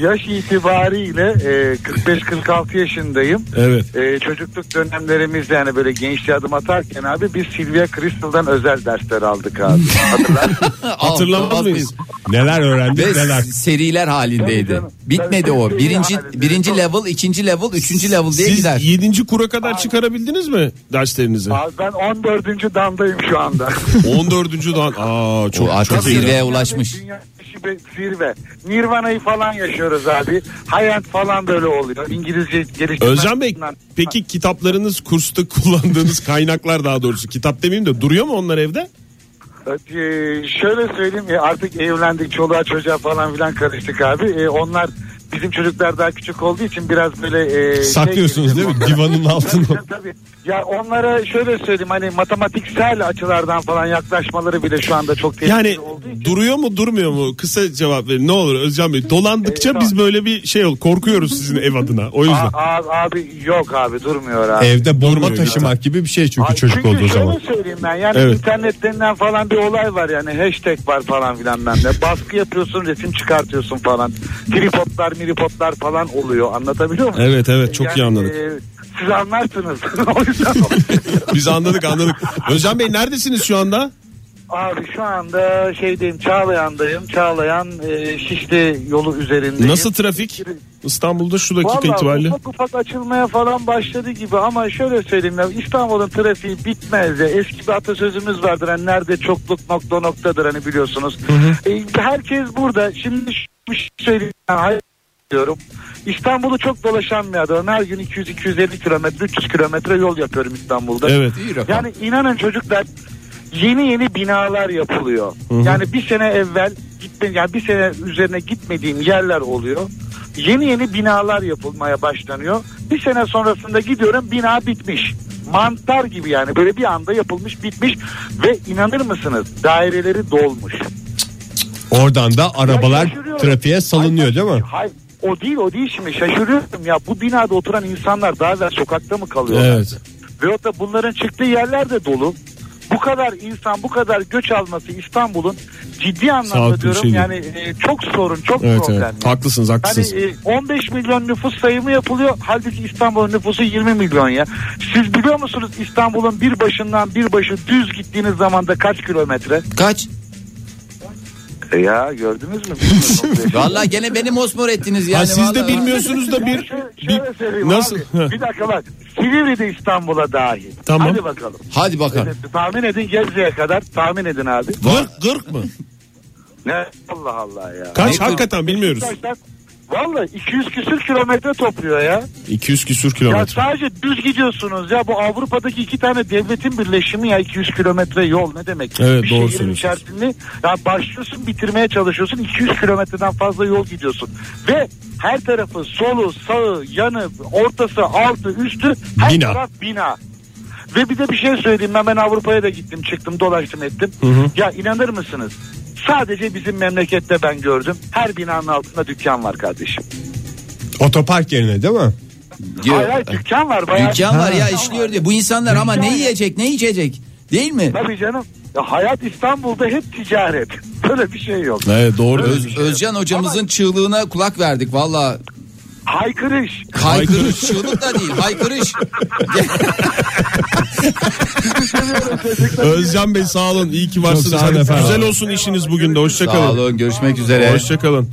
I: yaş itibariyle e, 45-46 yaşındayım.
B: Evet.
I: E, çocukluk dönemlerimizde yani böyle gençliğe adım atarken abi biz Silvia Crystal'dan özel dersler aldık abi. Hatırlar mısın?
B: Hatırlamaz mıyız?
E: Neler öğrendik
D: Ve
E: neler.
D: seriler
I: Tabii
D: halindeydi.
I: canım.
D: Bitmedi
I: Tabii,
D: o.
I: seri
D: Birinci
I: halinde.
D: birinci level, ikinci level, üçüncü level diye
B: Siz
D: gider.
B: 7. kura kadar çıkarabildiniz mi derslerinizi?
I: Abi ben 14. damdayım şu anda.
B: [LAUGHS] 14. dan. Aa
D: O
B: çok
D: artık
B: çok iyi.
D: zirveye ulaşmış.
I: Dünya zirve- zirve. Nirvana'yı falan yaşıyoruz abi. Hayat falan böyle oluyor. İngilizce geliştirme.
B: Özcan Bey peki kitaplarınız kursta [LAUGHS] kullandığınız kaynaklar daha doğrusu kitap demeyeyim de duruyor mu onlar evde?
I: Ee, şöyle söyleyeyim ya, artık evlendik çoluğa çocuğa falan filan karıştık abi. Ee, onlar bizim çocuklar daha küçük olduğu için biraz böyle... e, şey
E: Saklıyorsunuz
I: girdim
E: değil mi?
I: onlara.
B: [LAUGHS]
E: Divanın
I: [LAUGHS]
E: altına.
I: Tabii, tabii. Ya onlara şöyle söyleyeyim hani matematiksel açılardan falan yaklaşmaları bile şu anda çok tehlikeli
B: Yani
I: olduğu için.
B: duruyor mu durmuyor mu? Kısa cevap verin ne olur Özcan Bey.
I: Ee,
B: Dolandıkça
I: tamam.
B: biz böyle bir şey ol korkuyoruz sizin ev adına. O yüzden.
I: Aa, abi, abi yok abi durmuyor abi.
E: Evde bomba
B: Durmuyor
E: taşımak gibi bir şey çünkü
I: Ay,
E: çocuk
I: çünkü
E: olduğu
I: şöyle
E: zaman.
I: söyleyeyim ben yani
B: Evet.
I: internet denilen falan bir olay var yani hashtag var falan filan bende. Baskı yapıyorsun resim çıkartıyorsun falan. Tripodlar miripotlar falan oluyor anlatabiliyor muyum?
B: Evet evet çok iyi anladık.
I: e, siz anlarsınız. [LAUGHS] o yüzden e,
B: Biz
I: [LAUGHS]
B: anladık anladık. Özcan Bey neredesiniz şu anda?
I: abi şu anda şeydeyim Çağlayan'dayım. Çağlayan e, Şişli yolu üzerindeyim.
B: Nasıl trafik? İstanbul'da şu dakika
I: Vallahi
B: itibariyle.
I: ufak ufak açılmaya falan başladı gibi ama şöyle söyleyeyim ya İstanbul'un trafiği bitmez ya. Eski bir atasözümüz vardır hani nerede çokluk nokta noktadır hani biliyorsunuz. E, herkes burada. Şimdi şu- şu söyleyeyim yani hayır diyorum. İstanbul'u çok dolaşan bir adamım. Her gün 200-250 kilometre 300 kilometre yol yapıyorum İstanbul'da.
B: Evet.
D: İyi rakam.
I: Yani inanın çocuklar yeni yeni binalar yapılıyor. Yani bir sene evvel gitme, yani bir sene üzerine gitmediğim yerler oluyor. Yeni yeni binalar yapılmaya başlanıyor. Bir sene sonrasında gidiyorum bina bitmiş. Mantar gibi yani böyle bir anda yapılmış bitmiş ve inanır mısınız daireleri dolmuş.
E: Oradan da arabalar
I: şaşırıyorum.
E: trafiğe salınıyor
I: Ay,
E: değil mi?
I: Hayır o değil o değil şimdi şaşırıyorum ya bu binada oturan insanlar daha evvel sokakta mı kalıyorlar?
B: Evet.
I: Veyahut da bunların çıktığı yerler de dolu. Bu kadar insan bu kadar göç alması İstanbul'un ciddi anlamda
B: Sağlıklı bir
I: diyorum
B: şey değil.
I: yani e, çok sorun çok
B: Evet,
I: problem.
B: evet.
I: yani.
B: Haklısınız haklısınız.
I: Yani e, 15 milyon nüfus sayımı yapılıyor. Halbuki İstanbul'un nüfusu 20 milyon ya. Siz biliyor musunuz İstanbul'un bir başından bir başı düz gittiğiniz zaman da kaç kilometre?
D: Kaç?
I: E ya
B: [LAUGHS]
I: gördünüz mü? Bilmiyorum.
D: Vallahi gene beni mosmor ettiniz yani.
B: ha, siz de
D: vallahi.
B: bilmiyorsunuz da bir,
I: Şöyle- şöyle
B: bir
I: söyleyeyim
B: nasıl?
I: Abi, bir dakika bak. Silivri de İstanbul'a dahil.
B: Tamam.
I: Hadi bakalım.
D: Hadi bakalım.
I: Evet, tahmin edin Gebze'ye kadar. Tahmin edin abi.
B: 40 40 mı?
I: Ne? Allah Allah ya.
B: Kaç
D: Ne-
B: hakikaten bilmiyoruz.
I: Arkadaşlar Valla 200 küsür kilometre topluyor ya.
B: 200 küsür
I: Ya
B: kilometre.
I: sadece düz gidiyorsunuz ya. Bu Avrupa'daki iki tane devletin birleşimi ya 200 kilometre yol ne demek?
B: Evet,
I: Bir
B: doğru
I: şehrin
B: söylüyorsunuz.
I: içerisinde ya başlıyorsun bitirmeye çalışıyorsun 200 kilometreden fazla yol gidiyorsun. Ve her tarafı solu, sağı, yanı, ortası, altı, üstü her
E: Bina.
I: taraf bina. Ve bir de bir şey söyleyeyim ben, ben Avrupa'ya da gittim çıktım dolaştım ettim. Ya inanır mısınız? Sadece bizim memlekette ben gördüm. Her binanın altında dükkan var kardeşim.
E: Otopark yerine değil mi?
D: Diyor.
I: Hayır hayır
B: e,
I: dükkan var. Bayağı.
D: Dükkan var ya işliyor diyor. Bu insanlar ama ne yiyecek ne içecek değil mi?
I: Tabii canım. Ya hayat İstanbul'da hep ticaret. [LAUGHS] Böyle bir şey yok.
B: Evet doğru.
D: Öz- Özcan hocamızın çığlığına kulak verdik valla.
I: Haykırış.
D: Haykırış çığlık da değil
B: [LAUGHS]
D: haykırış.
B: Özcan Bey sağ olun. İyi ki varsınız.
E: Çok sağ olun
B: Hadi
E: efendim.
B: güzel olsun işiniz bugün de.
D: Sağ
B: Hoşçakalın.
D: olun görüşmek üzere.
B: Hoşçakalın.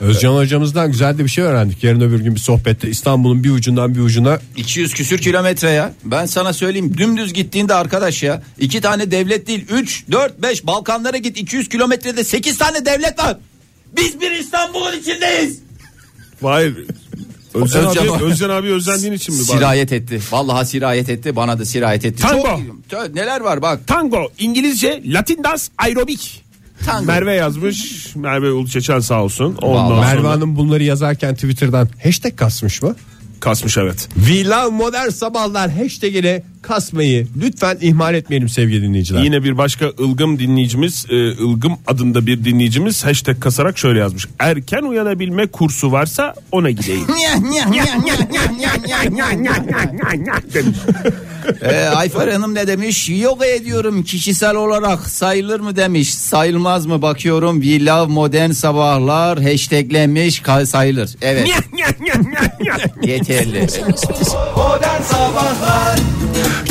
E: Özcan hocamızdan güzel de bir şey öğrendik. Yarın öbür gün bir sohbette İstanbul'un bir ucundan bir ucuna
D: 200 küsür kilometre ya. Ben sana söyleyeyim dümdüz gittiğinde arkadaş ya. iki tane devlet değil 3, 4, 5 Balkanlara git 200 kilometrede 8 tane devlet var. Biz bir İstanbul'un içindeyiz.
B: Vay. Özcan,
D: Özcan
B: abi,
D: abi.
B: Özcan abi özendiğin için mi? bari?
D: Sirayet etti. Vallahi sirayet etti. Bana da sirayet etti.
B: Tango.
D: Çok- Tö- neler var bak.
B: Tango, İngilizce, Latin dans, aerobik.
D: Tango.
B: Merve yazmış. Merve Uluçeçen sağ olsun. Ondan
D: Vallahi.
B: sonra
E: Merve Hanım bunları yazarken Twitter'dan hashtag kasmış mı?
B: kasmış evet.
E: We love modern sabahlar hashtagine kasmayı lütfen ihmal etmeyelim sevgili dinleyiciler.
B: Yine bir başka ılgım dinleyicimiz, e, ılgım adında bir dinleyicimiz hashtag kasarak şöyle yazmış. Erken uyanabilme kursu varsa ona gideyim.
D: Ee, Ayfer Hanım ne demiş? Yoga ediyorum kişisel olarak sayılır mı demiş. Sayılmaz mı bakıyorum. We love modern sabahlar hashtaglenmiş Ka- sayılır. Evet. Yeterli.
C: Modern Sabahlar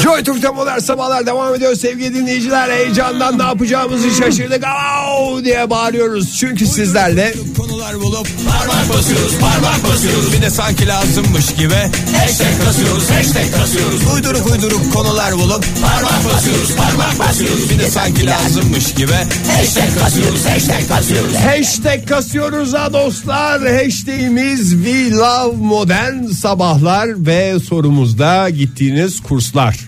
E: Joy Türk'te modern sabahlar devam ediyor sevgili dinleyiciler. Heyecandan ne yapacağımızı şaşırdık. Au diye bağırıyoruz. Çünkü sizlerle
G: Konular bulup parmak basıyoruz, parmak basıyoruz. Bir de sanki lazımmış gibi hashtag kasıyoruz, hashtag kasıyoruz. Uyduruk uyduruk konular bulup parmak basıyoruz, parmak basıyoruz. Bir de sanki lazımmış gibi hashtag kasıyoruz, hashtag kasıyoruz.
E: hashtag kasıyoruz ha dostlar. Hashtagimiz We Love Modern Sabahlar ve sorumuzda gittiğiniz kurslar.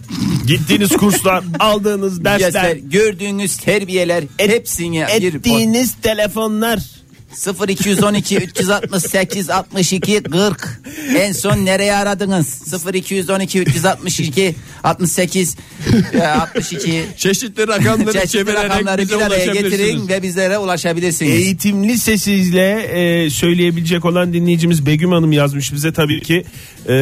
B: Gittiğiniz kurslar, aldığınız
D: Göster,
B: dersler,
D: gördüğünüz terbiyeler hepsini bir
B: ettiğiniz telefonlar.
D: 0212 368 62 40 en son nereye aradınız 0212 362 68 e, 62
E: Çeşitli
D: [LAUGHS] çeşitli rakamları bir araya getirin ve bizlere ulaşabilirsiniz.
B: Eğitimli sesizle e, söyleyebilecek olan dinleyicimiz Begüm Hanım yazmış bize tabii ki e,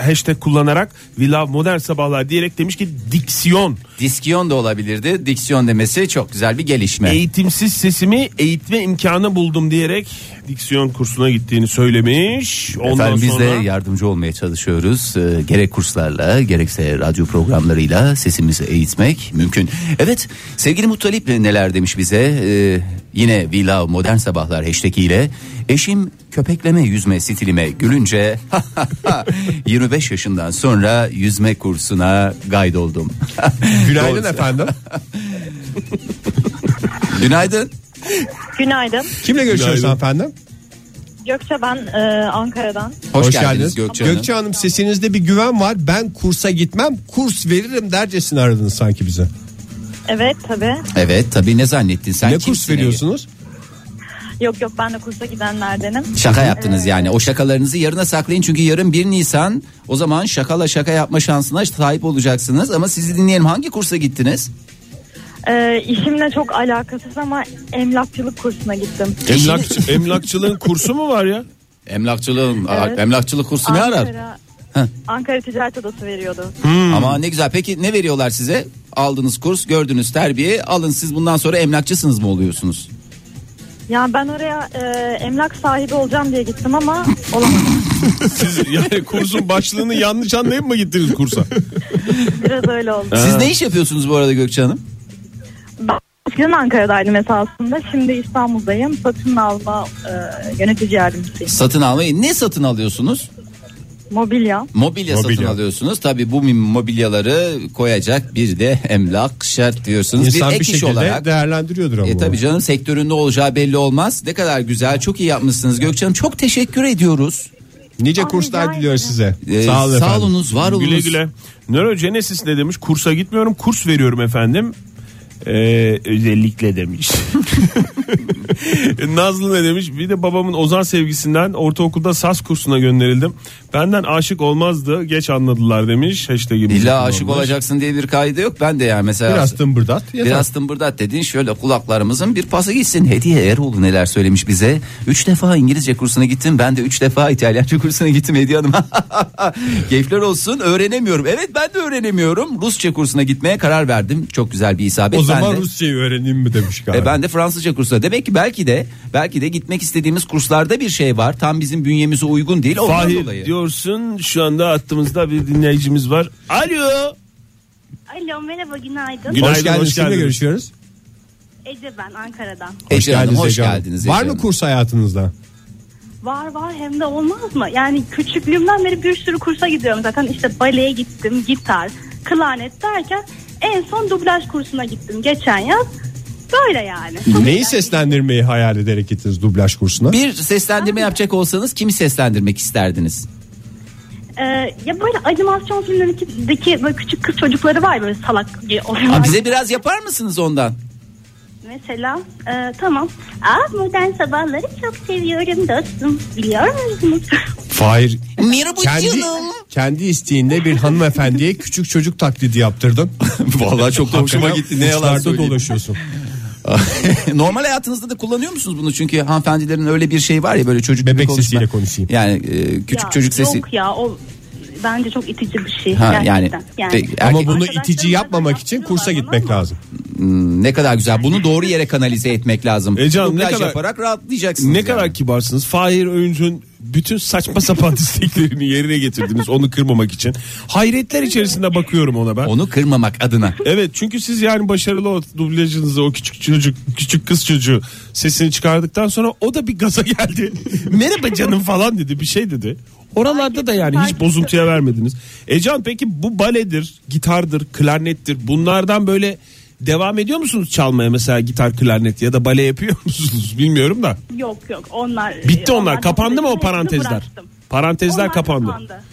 B: hashtag kullanarak We Love Modern Sabahlar diyerek demiş ki diksiyon.
D: Diksiyon da olabilirdi. Diksiyon demesi çok güzel bir gelişme.
B: Eğitimsiz sesimi eğitme imkanı imkanı buldum diyerek diksiyon kursuna gittiğini söylemiş. Ondan
D: Efendim biz
B: sonra
D: de yardımcı olmaya çalışıyoruz. Ee, gerek kurslarla gerekse radyo programlarıyla sesimizi eğitmek mümkün. Evet sevgili Muttalip neler demiş bize? Ee, yine We Love Modern Sabahlar hashtag ile eşim köpekleme yüzme stilime gülünce [LAUGHS] 25 yaşından sonra yüzme kursuna kaydoldum.
E: Günaydın
D: Doğru.
E: efendim.
D: Günaydın.
J: Günaydın.
E: Kimle görüşüyoruz
B: Günaydın.
E: efendim?
J: Gökçe ben e, Ankara'dan.
D: Hoş, geldiniz Gökçe Hanım.
E: Gökçe Hanım sesinizde bir güven var. Ben kursa gitmem kurs veririm dercesine aradınız sanki bize.
J: Evet tabii.
D: Evet tabii ne zannettin sen?
E: ne kurs
D: kimsin Ege?
E: veriyorsunuz?
J: Yok yok ben de kursa gidenlerdenim.
D: Şaka yaptınız yani. O şakalarınızı yarına saklayın çünkü yarın 1 Nisan. O zaman şakala şaka yapma şansına sahip olacaksınız. Ama sizi dinleyelim. Hangi kursa gittiniz?
J: E, işimle çok alakasız ama emlakçılık kursuna gittim.
E: E,
B: emlakçı- emlakçılığın kursu mu var ya?
D: Emlakçılığın,
J: Evet.
D: emlakçılık kursu ne arar?
J: Ankara, Ankara Ticaret Odası veriyordu.
D: Ama ne güzel. Peki ne veriyorlar size? Aldığınız kurs, gördüğünüz terbiye. Alın siz bundan sonra emlakçısınız mı oluyorsunuz?
J: Yani ben oraya e, emlak sahibi olacağım diye gittim ama
B: [LAUGHS]
J: olamadım.
B: Siz yani kursun başlığını yanlış anlayıp mı gittiniz
E: [LAUGHS]
B: kursa?
J: Biraz öyle oldu.
D: Siz ne iş yapıyorsunuz bu arada Gökçe Hanım?
J: Ben eskiden Ankara'daydım esasında. Şimdi İstanbul'dayım. Satın alma e, yönetici yardımcısıyım.
D: Satın almayı ne satın alıyorsunuz?
J: Mobilya.
D: Mobilya, satın
E: Mobilya.
D: alıyorsunuz. Tabii bu mobilyaları koyacak bir de emlak şart diyorsunuz.
E: İnsan
D: bir
E: bir,
D: ek iş
E: şekilde
D: olarak.
E: değerlendiriyordur ama.
D: E tabii canım sektörün ne olacağı belli olmaz. Ne kadar güzel çok iyi yapmışsınız Gökçe Hanım. Çok teşekkür ediyoruz.
E: nice
J: Ay,
E: kurslar
J: rica
E: diliyor
J: ederim.
E: size.
D: Ee,
E: sağ olun efendim.
D: olunuz var olunuz.
B: Güle güle. Neurogenesis ne demiş? Kursa gitmiyorum kurs veriyorum efendim. Ee, özellikle demiş. [LAUGHS] Nazlı ne demiş? Bir de babamın Ozan sevgisinden ortaokulda saz kursuna gönderildim. Benden aşık olmazdı. Geç anladılar demiş. Hashtag gibi.
D: İlla aşık olacaksın diye bir kaydı yok. Ben de yani mesela
E: Biraz
D: biraz,
E: tımbırdat. yeter.
D: tımbırdat dedin şöyle kulaklarımızın bir pası gitsin. Hediye Eroğlu neler söylemiş bize. Üç defa İngilizce kursuna gittim. Ben de üç defa İtalyanca kursuna gittim Hediye Hanım. [LAUGHS] Keyifler olsun öğrenemiyorum. Evet ben de öğrenemiyorum. Rusça kursuna gitmeye karar verdim. Çok güzel bir isabet.
E: O
D: Ben
E: zaman
D: de-
E: Rusçayı öğreneyim mi demiş
D: [LAUGHS]
E: galiba.
D: E ben de Fransızca kursuna. Demek ki belki de belki de gitmek istediğimiz kurslarda bir şey var. Tam bizim bünyemize uygun değil. Ondan
B: Fahir
D: dolayı.
B: Ee, diyorsun şu anda hattımızda bir dinleyicimiz var. Alo.
J: Alo merhaba günaydın.
B: Günaydın,
E: hoş geldiniz.
B: hoş
E: Kimle
B: geldiniz.
E: görüşüyoruz?
J: Ece ben Ankara'dan.
D: Ece Hanım, E, hoş
E: Ece Hanım.
D: geldiniz.
E: Var
D: Ece
E: mı
D: Hanım.
E: kurs hayatınızda?
J: Var var hem de olmaz mı? Yani küçüklüğümden beri bir sürü kursa gidiyorum zaten. İşte baleye gittim, gitar, klarnet derken en son dublaj kursuna gittim geçen yaz. Böyle yani.
E: Neyi seslendirmeyi hayal ederek gittiniz dublaj kursuna?
D: Bir seslendirme yapacak olsanız kimi seslendirmek isterdiniz?
J: Ee, ya böyle animasyon filmlerindeki böyle küçük kız çocukları var ya, böyle salak oluyorlar.
D: Aa, bize biraz yapar mısınız ondan?
J: Mesela e, tamam. Aa modern sabahları çok seviyorum dostum. Biliyor musunuz?
E: Fahir
D: Merhaba
E: kendi, kendi isteğinde bir hanımefendiye küçük çocuk taklidi yaptırdın.
D: [LAUGHS] Vallahi çok da hoşuma
E: Hakikaten
D: gitti. Ne yalan
E: uçlarda
D: söyleyeyim.
E: dolaşıyorsun.
D: [LAUGHS] Normal hayatınızda da kullanıyor musunuz bunu? Çünkü hanımefendilerin öyle bir şey var ya böyle çocuk gibi
E: Bebek
D: konuşma.
E: sesiyle konuşayım.
D: Yani e, küçük
J: Ya,
D: çocuk sesi.
J: Yok ya o bence çok itici bir şey.
D: Ha, yani-
J: gerçekten.
D: Peki,
E: Ama
D: Erkek-
E: bunu
J: Arkadaşlarım
E: itici yapmamak için kursa
J: yapıyorlar
E: gitmek
J: bunu ama-
E: lazım.
D: Hmm, ne kadar güzel. Bunu doğru yere kanalize etmek lazım.
B: Ece Hanım, E ne
D: Dublaj
B: kadar-
D: yaparak rahatlayacaksınız.
B: Ne
D: yani.
B: kadar kibarsınız. Fahir Öğüncü'nün bütün saçma sapan [LAUGHS] isteklerini yerine getirdiniz onu kırmamak için. Hayretler içerisinde bakıyorum ona ben.
D: onu kırmamak adına.
B: Evet çünkü siz yani başarılı o dublajınızı o küçük çocuk küçük kız çocuğu sesini çıkardıktan sonra o da bir gaza geldi. [LAUGHS] Merhaba canım falan dedi bir şey dedi. Oralarda da yani hiç bozuntuya vermediniz. Ecan peki bu baledir, gitardır, klarnettir bunlardan böyle devam ediyor musunuz çalmaya mesela gitar, klarnet ya da bale yapıyor [LAUGHS] musunuz bilmiyorum da.
J: Yok yok onlar.
B: Bitti onlar.
J: çok
B: Kapandı mı o
J: üzücü.
B: parantezler?
J: Bıraktım.
B: Parantezler
J: Onlar
B: kapandı.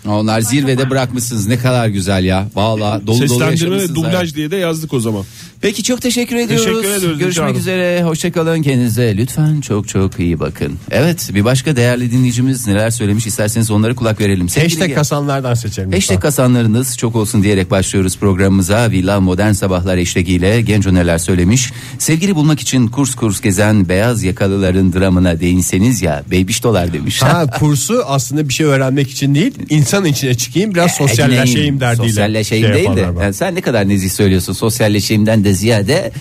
D: Onlar zirvede bırakmışsınız. Ne kadar güzel ya. Valla dolu dolu
B: Seslendirme ve
D: yaşamışsınız.
B: dublaj
D: hayat.
B: diye de yazdık o zaman.
D: Peki çok teşekkür ediyoruz.
B: Teşekkür ediyoruz Gülcan
D: Görüşmek
B: Hanım.
D: üzere. Hoşçakalın kendinize. Lütfen çok çok iyi bakın. Evet bir başka değerli dinleyicimiz neler söylemiş isterseniz onlara kulak verelim. Sevgili
E: Hashtag
D: Ge-
E: kasanlardan seçelim.
D: Hashtag
E: lütfen.
D: kasanlarınız çok olsun diyerek başlıyoruz programımıza. Villa Modern Sabahlar hashtagiyle Genco neler söylemiş. Sevgili bulmak için kurs kurs gezen beyaz yakalıların dramına değinseniz ya beybiş dolar demiş.
E: Ha kursu aslında bir şey öğrenmek için değil, insan içine çıkayım biraz sosyalleşeyim derdiyle.
D: E, Sosyalleşeyim
E: şey
D: değil de.
E: yaparlar bana.
D: yani sen ne kadar nezih söylüyorsun. Sosyalleşeyimden de ziyade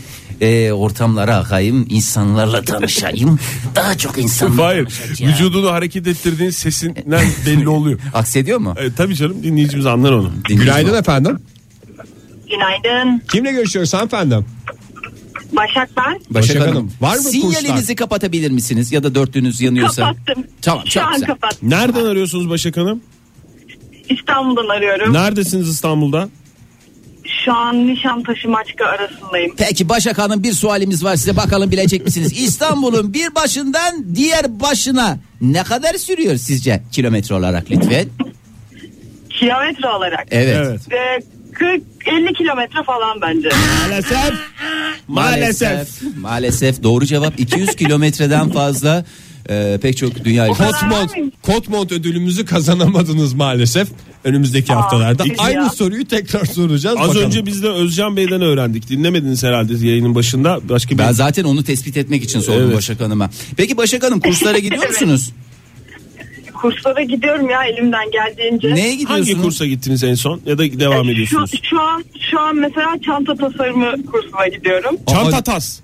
D: e, ortamlara akayım, insanlarla
E: [LAUGHS]
D: tanışayım. daha çok insanla
B: Hayır.
D: tanışacağım.
B: Vücudunu hareket ettirdiğin
E: E-
B: sesinden belli oluyor.
K: Aksediyor mu?
B: E, tabii canım dinleyicimiz anlar onu.
E: Günaydın efendim.
L: Günaydın.
E: Kimle görüşüyoruz hanımefendim?
L: Başak ben.
K: Başak, Hanım,
E: var mı
K: sinyalinizi
E: kurslar?
K: kapatabilir misiniz ya da dörtlüğünüz yanıyorsa?
L: Kapattım.
K: Tamam
L: Şu
K: çok
L: an
K: güzel.
L: kapattım.
B: Nereden arıyorsunuz Başak Hanım?
L: İstanbul'dan arıyorum.
B: Neredesiniz İstanbul'da?
L: Şu an Nişantaşı Maçka arasındayım.
D: Peki Başak Hanım bir sualimiz var size bakalım bilecek misiniz? İstanbul'un bir başından diğer başına ne kadar sürüyor sizce kilometre olarak lütfen?
L: Kilometre olarak.
D: Evet.
L: Ee, 40-50 kilometre falan bence.
B: Maalesef.
D: Maalesef doğru cevap 200 kilometreden fazla. Ee, pek çok dünya ülkesi.
E: Kotmont, Kotmont ödülümüzü kazanamadınız maalesef. Önümüzdeki haftalarda
L: biz
E: aynı
L: ya.
E: soruyu tekrar soracağız.
B: Az
E: Bakalım.
B: önce biz de Özcan Bey'den öğrendik. Dinlemediniz herhalde yayının başında. Başka bir
D: Ben zaten onu tespit etmek için sordum
B: Evet.
D: Başak Hanım'a. Peki Başak
L: [LAUGHS]
D: Hanım kurslara gidiyor
L: Evet.
D: musunuz?
L: Kurslara gidiyorum ya elimden geldiğince.
D: Neye gidiyorsunuz?
B: hangi kursa gittiniz en son ya da
L: E,
B: devam
L: Şu,
B: ediyorsunuz?
L: şu an şu an mesela çanta tasarımı kursuna gidiyorum.
B: Çanta tas.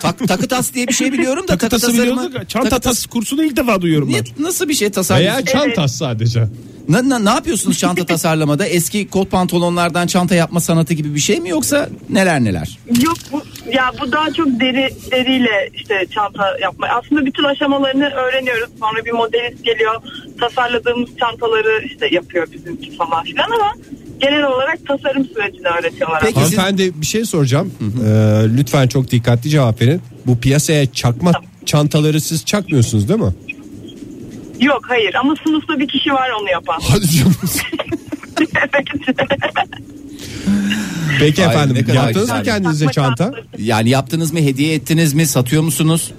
D: Tak, takı tas diye bir şey biliyorum da
B: Takı tası
D: tasarımı-
B: biliyorduk. ya. Çanta
D: takı tas-
B: tas kursunu ilk defa duyuyorum
D: Ne-
B: ben.
D: nasıl bir şey tasarlıyorsunuz?
E: Veya çanta sadece.
D: Ne, ne, ne yapıyorsunuz çanta tasarlamada? Eski kot pantolonlardan çanta yapma sanatı gibi bir şey mi yoksa neler neler?
L: Yok bu ya bu daha çok deri deriyle işte çanta yapma. Aslında bütün aşamalarını öğreniyoruz. Sonra bir modelist geliyor. Tasarladığımız çantaları işte yapıyor bizimki falan filan ama genel olarak tasarım sürecini öğretiyorlar.
D: Peki siz-
E: Hanımefendi bir şey soracağım. Ee, lütfen çok dikkatli cevap verin. Bu piyasaya çakma çantaları siz çakmıyorsunuz değil mi?
L: Yok hayır ama sınıfta bir kişi var onu yapan.
E: Hadi canım. Peki
D: Ay, ne
E: efendim.
D: kadar
E: Yaptınız mı
D: güzel.
E: kendinize
L: Takma
E: çanta?
L: çantası.
D: Yani yaptınız mı, hediye ettiniz mi, satıyor musunuz?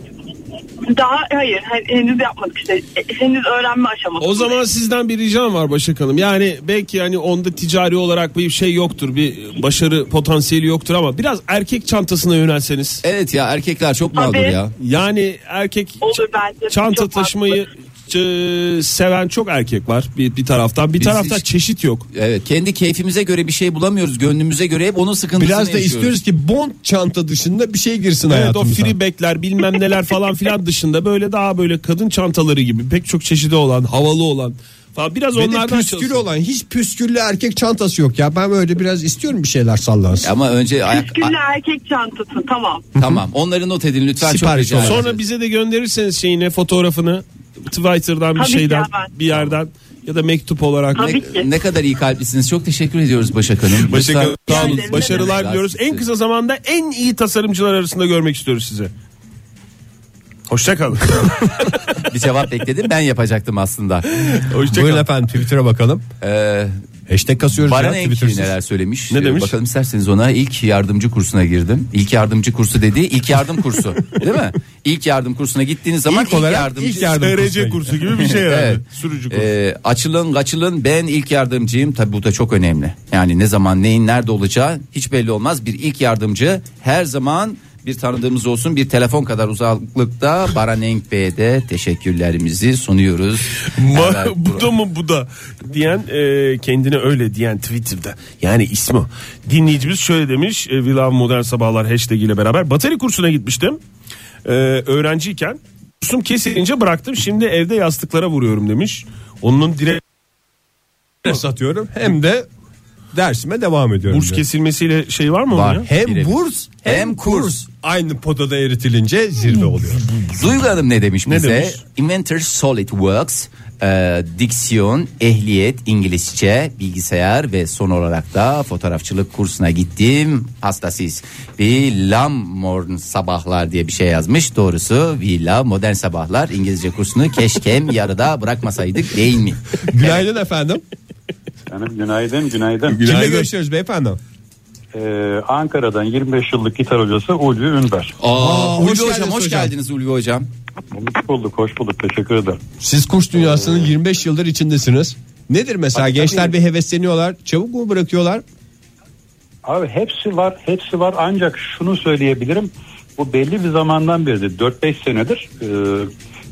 L: Daha hayır he- henüz yapmadık işte. E, Henüz öğrenme aşaması.
B: O zaman sizden bir ricam var Başak Hanım. Yani belki yani onda ticari olarak bir şey yoktur. Bir başarı potansiyeli yoktur ama biraz erkek çantasına yönelseniz.
D: Evet ya erkekler çok mağdur
L: Tabii.
D: ya.
B: Yani erkek
L: Olur bence.
B: çanta
L: Çok
B: taşımayı ç- seven çok erkek var bir, bir taraftan. Bir
D: Biz
B: taraftan
D: hiç-
B: çeşit yok.
D: Evet kendi keyfimize göre bir şey bulamıyoruz. Gönlümüze göre hep onun sıkıntısını
E: Biraz da
D: yaşıyoruz.
E: istiyoruz ki bond çanta dışında bir şey girsin
B: Evet o
E: hayatımıza.
B: free bagler bilmem neler falan filan dışında böyle daha böyle kadın çantaları gibi pek çok çeşidi olan havalı olan falan biraz
E: Ve de
B: onlardan
E: püsküllü
B: çalışın.
E: olan hiç püsküllü erkek çantası yok ya. Ben böyle biraz istiyorum bir şeyler sallansın.
D: Ama önce ayak...
L: Püsküllü
D: a-
L: erkek çantası tamam.
D: tamam onları not edin lütfen
E: Sipariş
D: çok rica
E: olsun.
D: ederim.
B: Sonra bize de gönderirseniz şeyine fotoğrafını Twitter'dan bir
L: Tabii ki
B: şeyden
L: hemen.
B: bir yerden ya da mektup olarak
L: Tabii.
D: ne, ne kadar iyi kalplisiniz. Çok teşekkür ediyoruz Başak Hanım.
B: Başak
D: Lütfen-
B: Hanım, sağ olun.
L: Rica ederim.
B: Başarılar diliyoruz. En kısa zamanda en iyi tasarımcılar arasında görmek istiyoruz sizi.
E: [LAUGHS]
B: Hoşçakalın.
D: bir cevap bekledim. Ben yapacaktım [LAUGHS] aslında.
E: Buyurun efendim Twitter'a bakalım.
D: Ee,
E: Hashtag kasıyoruz
D: Baran
E: ya
D: Enki
E: Twitter'sız. [LAUGHS]
D: neler söylemiş.
B: Ne
D: Ee,
B: demiş?
D: Bakalım isterseniz ona ilk yardımcı kursuna girdim. İlk yardımcı kursu dediği ilk yardım kursu.
E: [LAUGHS]
D: değil mi? İlk yardım kursuna gittiğiniz zaman ilk,
E: İlk olarak
D: yardımcı.
E: ilk yardım
B: TRC kursu gibi bir şey herhalde.
D: Evet.
B: Sürücü kursu.
D: Ee, açılın kaçılın ben ilk yardımcıyım. Tabi bu da çok önemli. Yani ne zaman neyin nerede olacağı hiç belli olmaz. Bir ilk yardımcı her zaman bir tanıdığımız olsun bir telefon kadar uzaklıkta Baran Enk Bey'e de teşekkürlerimizi sunuyoruz.
B: Ma-
D: Evet,
B: [LAUGHS] bu da mı bu da diyen e, kendine öyle diyen Twitter'da yani ismi o. dinleyicimiz şöyle demiş e, We Love Modern Sabahlar hashtag ile beraber bateri kursuna gitmiştim E, öğrenciyken kursum kesilince bıraktım şimdi evde yastıklara vuruyorum demiş onun direkt
E: satıyorum hem de dersime devam ediyorum.
B: burs
E: diyor.
B: kesilmesiyle şey var mı onun
D: Var.
B: ya?
E: Hem
D: Birebir.
E: burs hem,
D: Hem
E: kurs. Hmm.
D: kurs.
E: aynı potada eritilince zirve oluyor.
D: Duygu Hanım ne demiş
B: Ne
D: bize?
B: demiş?
D: Inventor SolidWorks, e, diksiyon, ehliyet, İngilizce, bilgisayar ve son olarak da fotoğrafçılık kursuna gittim. Hastasıyız. Villa Morn Sabahlar diye bir şey yazmış. Doğrusu Villa Modern Sabahlar İngilizce kursunu keşkem yarıda bırakmasaydık değil mi?
E: Günaydın [LAUGHS] efendim.
M: Canım günaydın, günaydın.
E: Kimle görüşüyoruz beyefendi?
M: Ee, Ankara'dan 25 yıllık gitar hocası Ulvi Ünber.
D: Aa,
E: hoş
D: Ulvi hocam,
E: geldiniz
D: hoş
E: hocam.
D: geldiniz Ulvi hocam.
M: Hoş bulduk, hoş bulduk. Teşekkür ederim.
E: Siz kurs dünyasının 25 yıldır içindesiniz. Nedir mesela
M: Tabii,
E: gençler
M: tabii.
E: bir hevesleniyorlar. Çabuk mu bırakıyorlar?
M: Abi hepsi var, hepsi var. Ancak şunu söyleyebilirim. Bu belli bir zamandan beridir, 4-5 senedir. e,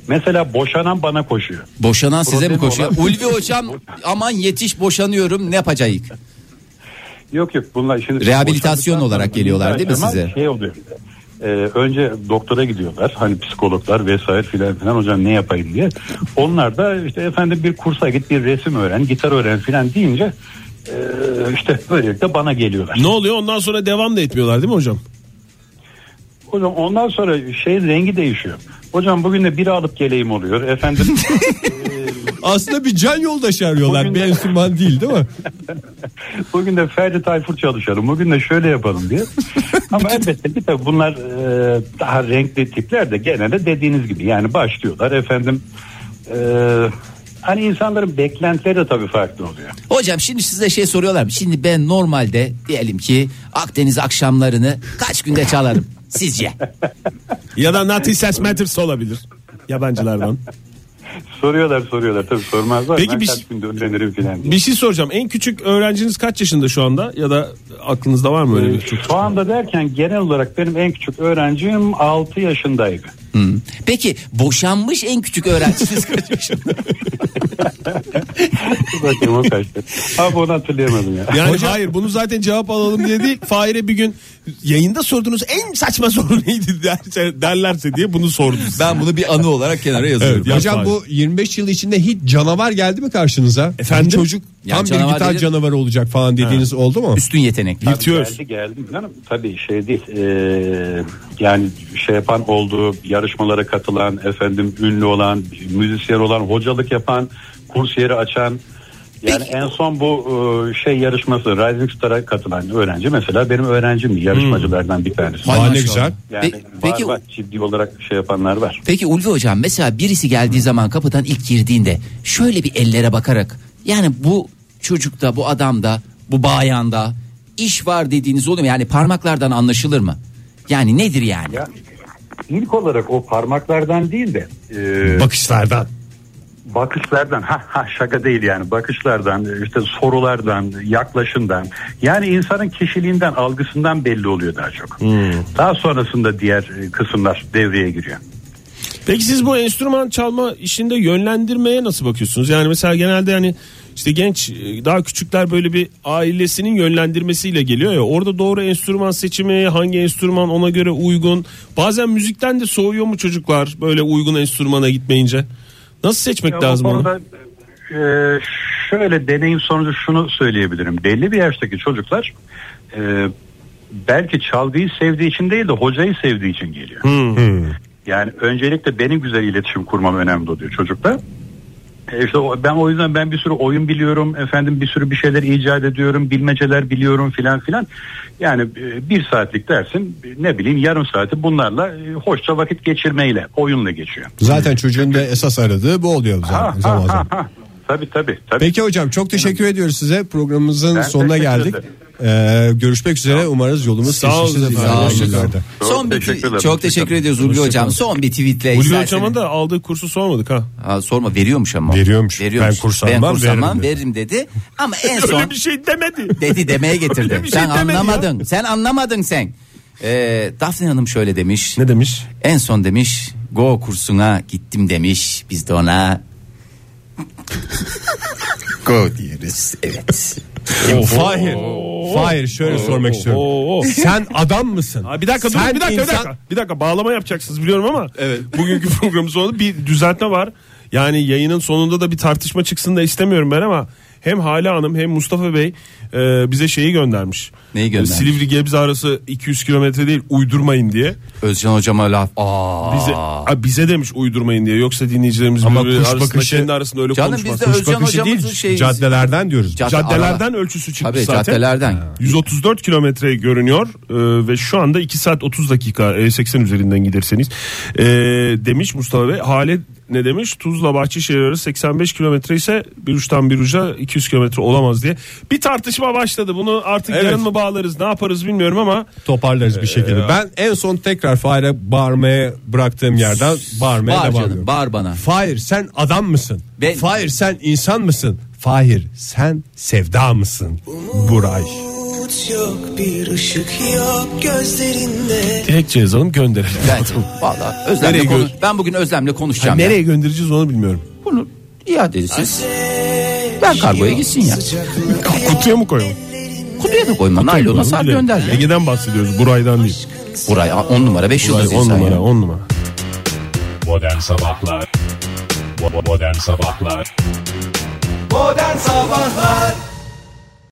M: mesela boşanan bana koşuyor.
D: Boşanan size mi
M: Problemi
D: [LAUGHS] koşuyor?
M: olan-
D: Ulvi hocam aman yetiş boşanıyorum ne yapacağız?
M: Yok yok bunlar şimdi
D: Rehabilitasyon olarak geliyorlar değil mi
M: Hemen
D: size?
M: Şey oluyor. Ee, önce doktora gidiyorlar hani psikologlar vesaire filan filan hocam ne yapayım diye. Onlar da işte efendim bir kursa git bir resim öğren gitar öğren filan deyince ee, işte böylelikle bana geliyorlar.
B: Ne oluyor ondan sonra devam da etmiyorlar değil mi hocam?
M: Hocam ondan sonra şeyin rengi değişiyor. Hocam bugün de biri alıp geleyim oluyor. Efendim
E: Aslında bir can yoldaşı arıyorlar. Bir enstrüman değil değil mi?
M: bugün de Ferdi Tayfur çalışalım. Bugün de şöyle yapalım
B: [LAUGHS]
M: diye. Ama elbette ki tabii bunlar e, daha renkli tipler de gene de dediğiniz gibi yani başlıyorlar efendim. e, hani insanların beklentileri de tabii farklı oluyor.
D: Hocam şimdi size şey soruyorlar. Şimdi ben normalde diyelim ki Akdeniz akşamlarını kaç günde [LAUGHS] çalarım sizce?
B: Ya da Nothing Else Matters olabilir. Yabancılardan.
M: Soruyorlar soruyorlar tabii sormazlar.
B: Peki
M: ben
B: bir
M: kaç
B: şey-
M: günde öğrenirim filan diye.
B: Bir şey soracağım. En küçük öğrenciniz kaç yaşında şu anda? Ya da aklınızda var mı öyle
E: Ee,
B: bir küçük?
M: Şu anda derken genel olarak benim en küçük öğrencim 6 yaşındaydı.
D: Peki boşanmış en küçük öğrenciniz kaç yaşında?
M: Bakayım o kaçtı. Abi onu hatırlayamadım ya.
B: Yani hayır bunu zaten cevap alalım diye değil. Fahir'e bir gün yayında sorduğunuz en saçma [LAUGHS] soru neydi derse, derlerse diye bunu sordum.
D: Ben bunu bir anı olarak kenara yazıyorum.
E: Hocam bu 25 yıl içinde hiç canavar geldi mi karşınıza?
B: Efendim?
E: Bir çocuk
D: Ya
E: tam
D: canavar
E: bir gitar
D: dedim.
E: canavarı olacak falan dediğiniz oldu mu?
D: Üstün yetenek.
M: Tabii Geldi geldi canım. Tabii şey değil. eee, yani şey yapan oldu, yarışmalara katılan, efendim ünlü olan, müzisyen olan, hocalık yapan, kurs yeri açan. Yani en son bu eee, şey yarışması Rising Star'a katılan öğrenci mesela benim
B: Hmm.
M: öğrencim yarışmacılardan bir tanesi.
D: Vay Vay ne maşallah. güzel.
M: Yani
D: Pe-
M: peki,
D: peki-
M: var, ciddi olarak şey yapanlar var.
D: Peki Ulvi hocam mesela birisi geldiği zaman kapıdan ilk girdiğinde şöyle bir ellere bakarak yani bu çocukta bu adamda bu bayanda iş var dediğiniz oluyor mu? Yani parmaklardan anlaşılır mı? Yani nedir yani?
M: İlk olarak o parmaklardan değil de eee,
E: Bakışlardan.
M: bakışlardan ha ha şaka değil yani bakışlardan işte sorulardan yaklaşımdan yani insanın kişiliğinden algısından belli oluyor daha çok. Daha sonrasında diğer e, kısımlar devreye giriyor.
B: Peki siz bu enstrüman çalma işinde yönlendirmeye nasıl bakıyorsunuz? Yani mesela genelde yani işte genç e, daha küçükler böyle bir ailesinin yönlendirmesiyle geliyor ya orada doğru enstrüman seçimi hangi enstrüman ona göre uygun bazen müzikten de soğuyor mu çocuklar böyle uygun enstrümana gitmeyince nasıl seçmek
M: Ya bu
B: lazım onu?
M: konuda, e, şöyle deneyim sonucu şunu söyleyebilirim. Belli bir yaştaki çocuklar e, belki çalgıyı sevdiği için değil de hocayı sevdiği için geliyor.
B: Hmm.
M: Yani öncelikle benim güzel iletişim kurmam önemli oluyor çocukla. E İşte o- ben o yüzden ben bir sürü oyun biliyorum efendim bir sürü bir şeyler icat ediyorum bilmeceler biliyorum filan filan. Yani e, bir saatlik dersin ne bileyim yarım saati bunlarla e, hoşça vakit geçirmeyle oyunla geçiyor.
E: Zaten çocuğun da esas aradığı bu oluyor zaten zaman zaman.
M: Tabii tabii. tabii.
E: Peki hocam çok teşekkür ediyoruz size. Programımızın
M: Ben
E: sonuna
M: teşekkür
E: geldik.
M: ederim.
E: Ee, görüşmek üzere. Umarız yolumuz
B: Sağ olun
E: kesişsiz
B: efendim.
E: efendim.
B: Sağ olun.
E: Teşekkürler.
D: Son bir
M: teşekkür ederim.
D: çok teşekkür ediyoruz Ulvi
B: Hoşçakalın.
D: hocam. Son bir tweetle
B: Ulvi
D: isterseniz.
B: hocama da aldığı kursu sormadık ha.
D: Ha, sorma veriyormuş ama.
E: Veriyormuş.
D: Veriyormuş.
E: Ben kurs almam,
D: kurs
E: veririm
D: almam,
E: dedi.
D: veririm dedi. Ama
B: [LAUGHS]
D: en son
B: şey demedi.
D: dedi demeye getirdi.
B: Öyle bir şey
D: sen
B: demedi ya.
D: anlamadın. Sen anlamadın sen. Ee, Daphne Hanım şöyle demiş.
B: Ne demiş?
D: En son demiş Go kursuna gittim demiş. Biz de
B: [LAUGHS]
D: ona Go diyoruz. Evet.
E: Fahir. Fahir şöyle sormak istiyorum.
B: Oo.
E: Sen adam mısın?
B: Ha, bir dakika dur,
E: Sen
B: bir dakika bir
E: insan-
B: dakika. Bir dakika bağlama yapacaksınız biliyorum ama [LAUGHS] bugünkü programın sonunda bir düzeltme var. Yani yayının sonunda da bir tartışma çıksın da istemiyorum ben ama hem Hale Hanım hem Mustafa Bey e, bize şeyi göndermiş.
D: Neyi göndermiş?
B: E, Silivri Gebze arası 200 kilometre değil uydurmayın diye.
D: Özcan hocama laf. Aa.
B: Bize ha, bize demiş uydurmayın diye. Yoksa dinleyicilerimiz
E: Ama
B: birbiri
E: kuş
B: arasında
E: bakışı-
B: kendi arasında öyle
D: Canım
B: konuşmaz.
D: biz de
B: Kuş
D: Özcan
B: bakışı değil,
D: hocamızın şeyi.
E: şey Caddelerden diyoruz.
D: Cadde-
B: Caddelerden
D: araba-
B: ölçüsü çıkmış
D: Tabii
B: zaten.
D: caddelerden.
B: 134 kilometre görünüyor e, ve şu anda 2 saat 30 dakika e, 80 üzerinden giderseniz E, demiş Mustafa Bey. Hale ne demiş? Tuzla Bahçeşehir arası 85 kilometre ise bir uçtan bir uca 200 kilometre olamaz diye. Bir tartışma başladı. Bunu artık yarın mı bağlarız ne yaparız bilmiyorum ama
E: Toparlarız bir şekilde. Ben en son tekrar Fahir'e bağırmaya bıraktığım yerden bağırmaya
D: Bağır
E: devam
D: canım,
E: ediyorum.
D: bağır bana.
E: Fahir sen adam mısın?
D: Ben-
E: Fahir sen insan mısın? Fahir sen sevda mısın? Buray.
L: Umut yok bir ışık yok gözlerinde
B: dilekçe yazalım gönderelim.
D: Bence. [LAUGHS] Vallahi Özlem'le
B: Nereye
D: konu- ben bugün Özlem'le konuşacağım. ya.
B: nereye göndereceğiz onu bilmiyorum.
D: Bunu iade edin siz. Ver kargoya gitsin ya.
B: Kutuya mı koyalım?
D: Kutuya da koyma. Naylona sar gönder.
B: Ege'den bahsediyoruz. Buray'dan değil.
D: Buray 10 numara 5
B: Buray
D: yıldız
B: on
D: insan
B: numara
D: ya.
B: 10 numara.
M: Modern Sabahlar Bo- bo- Modern Sabahlar
G: Modern Sabahlar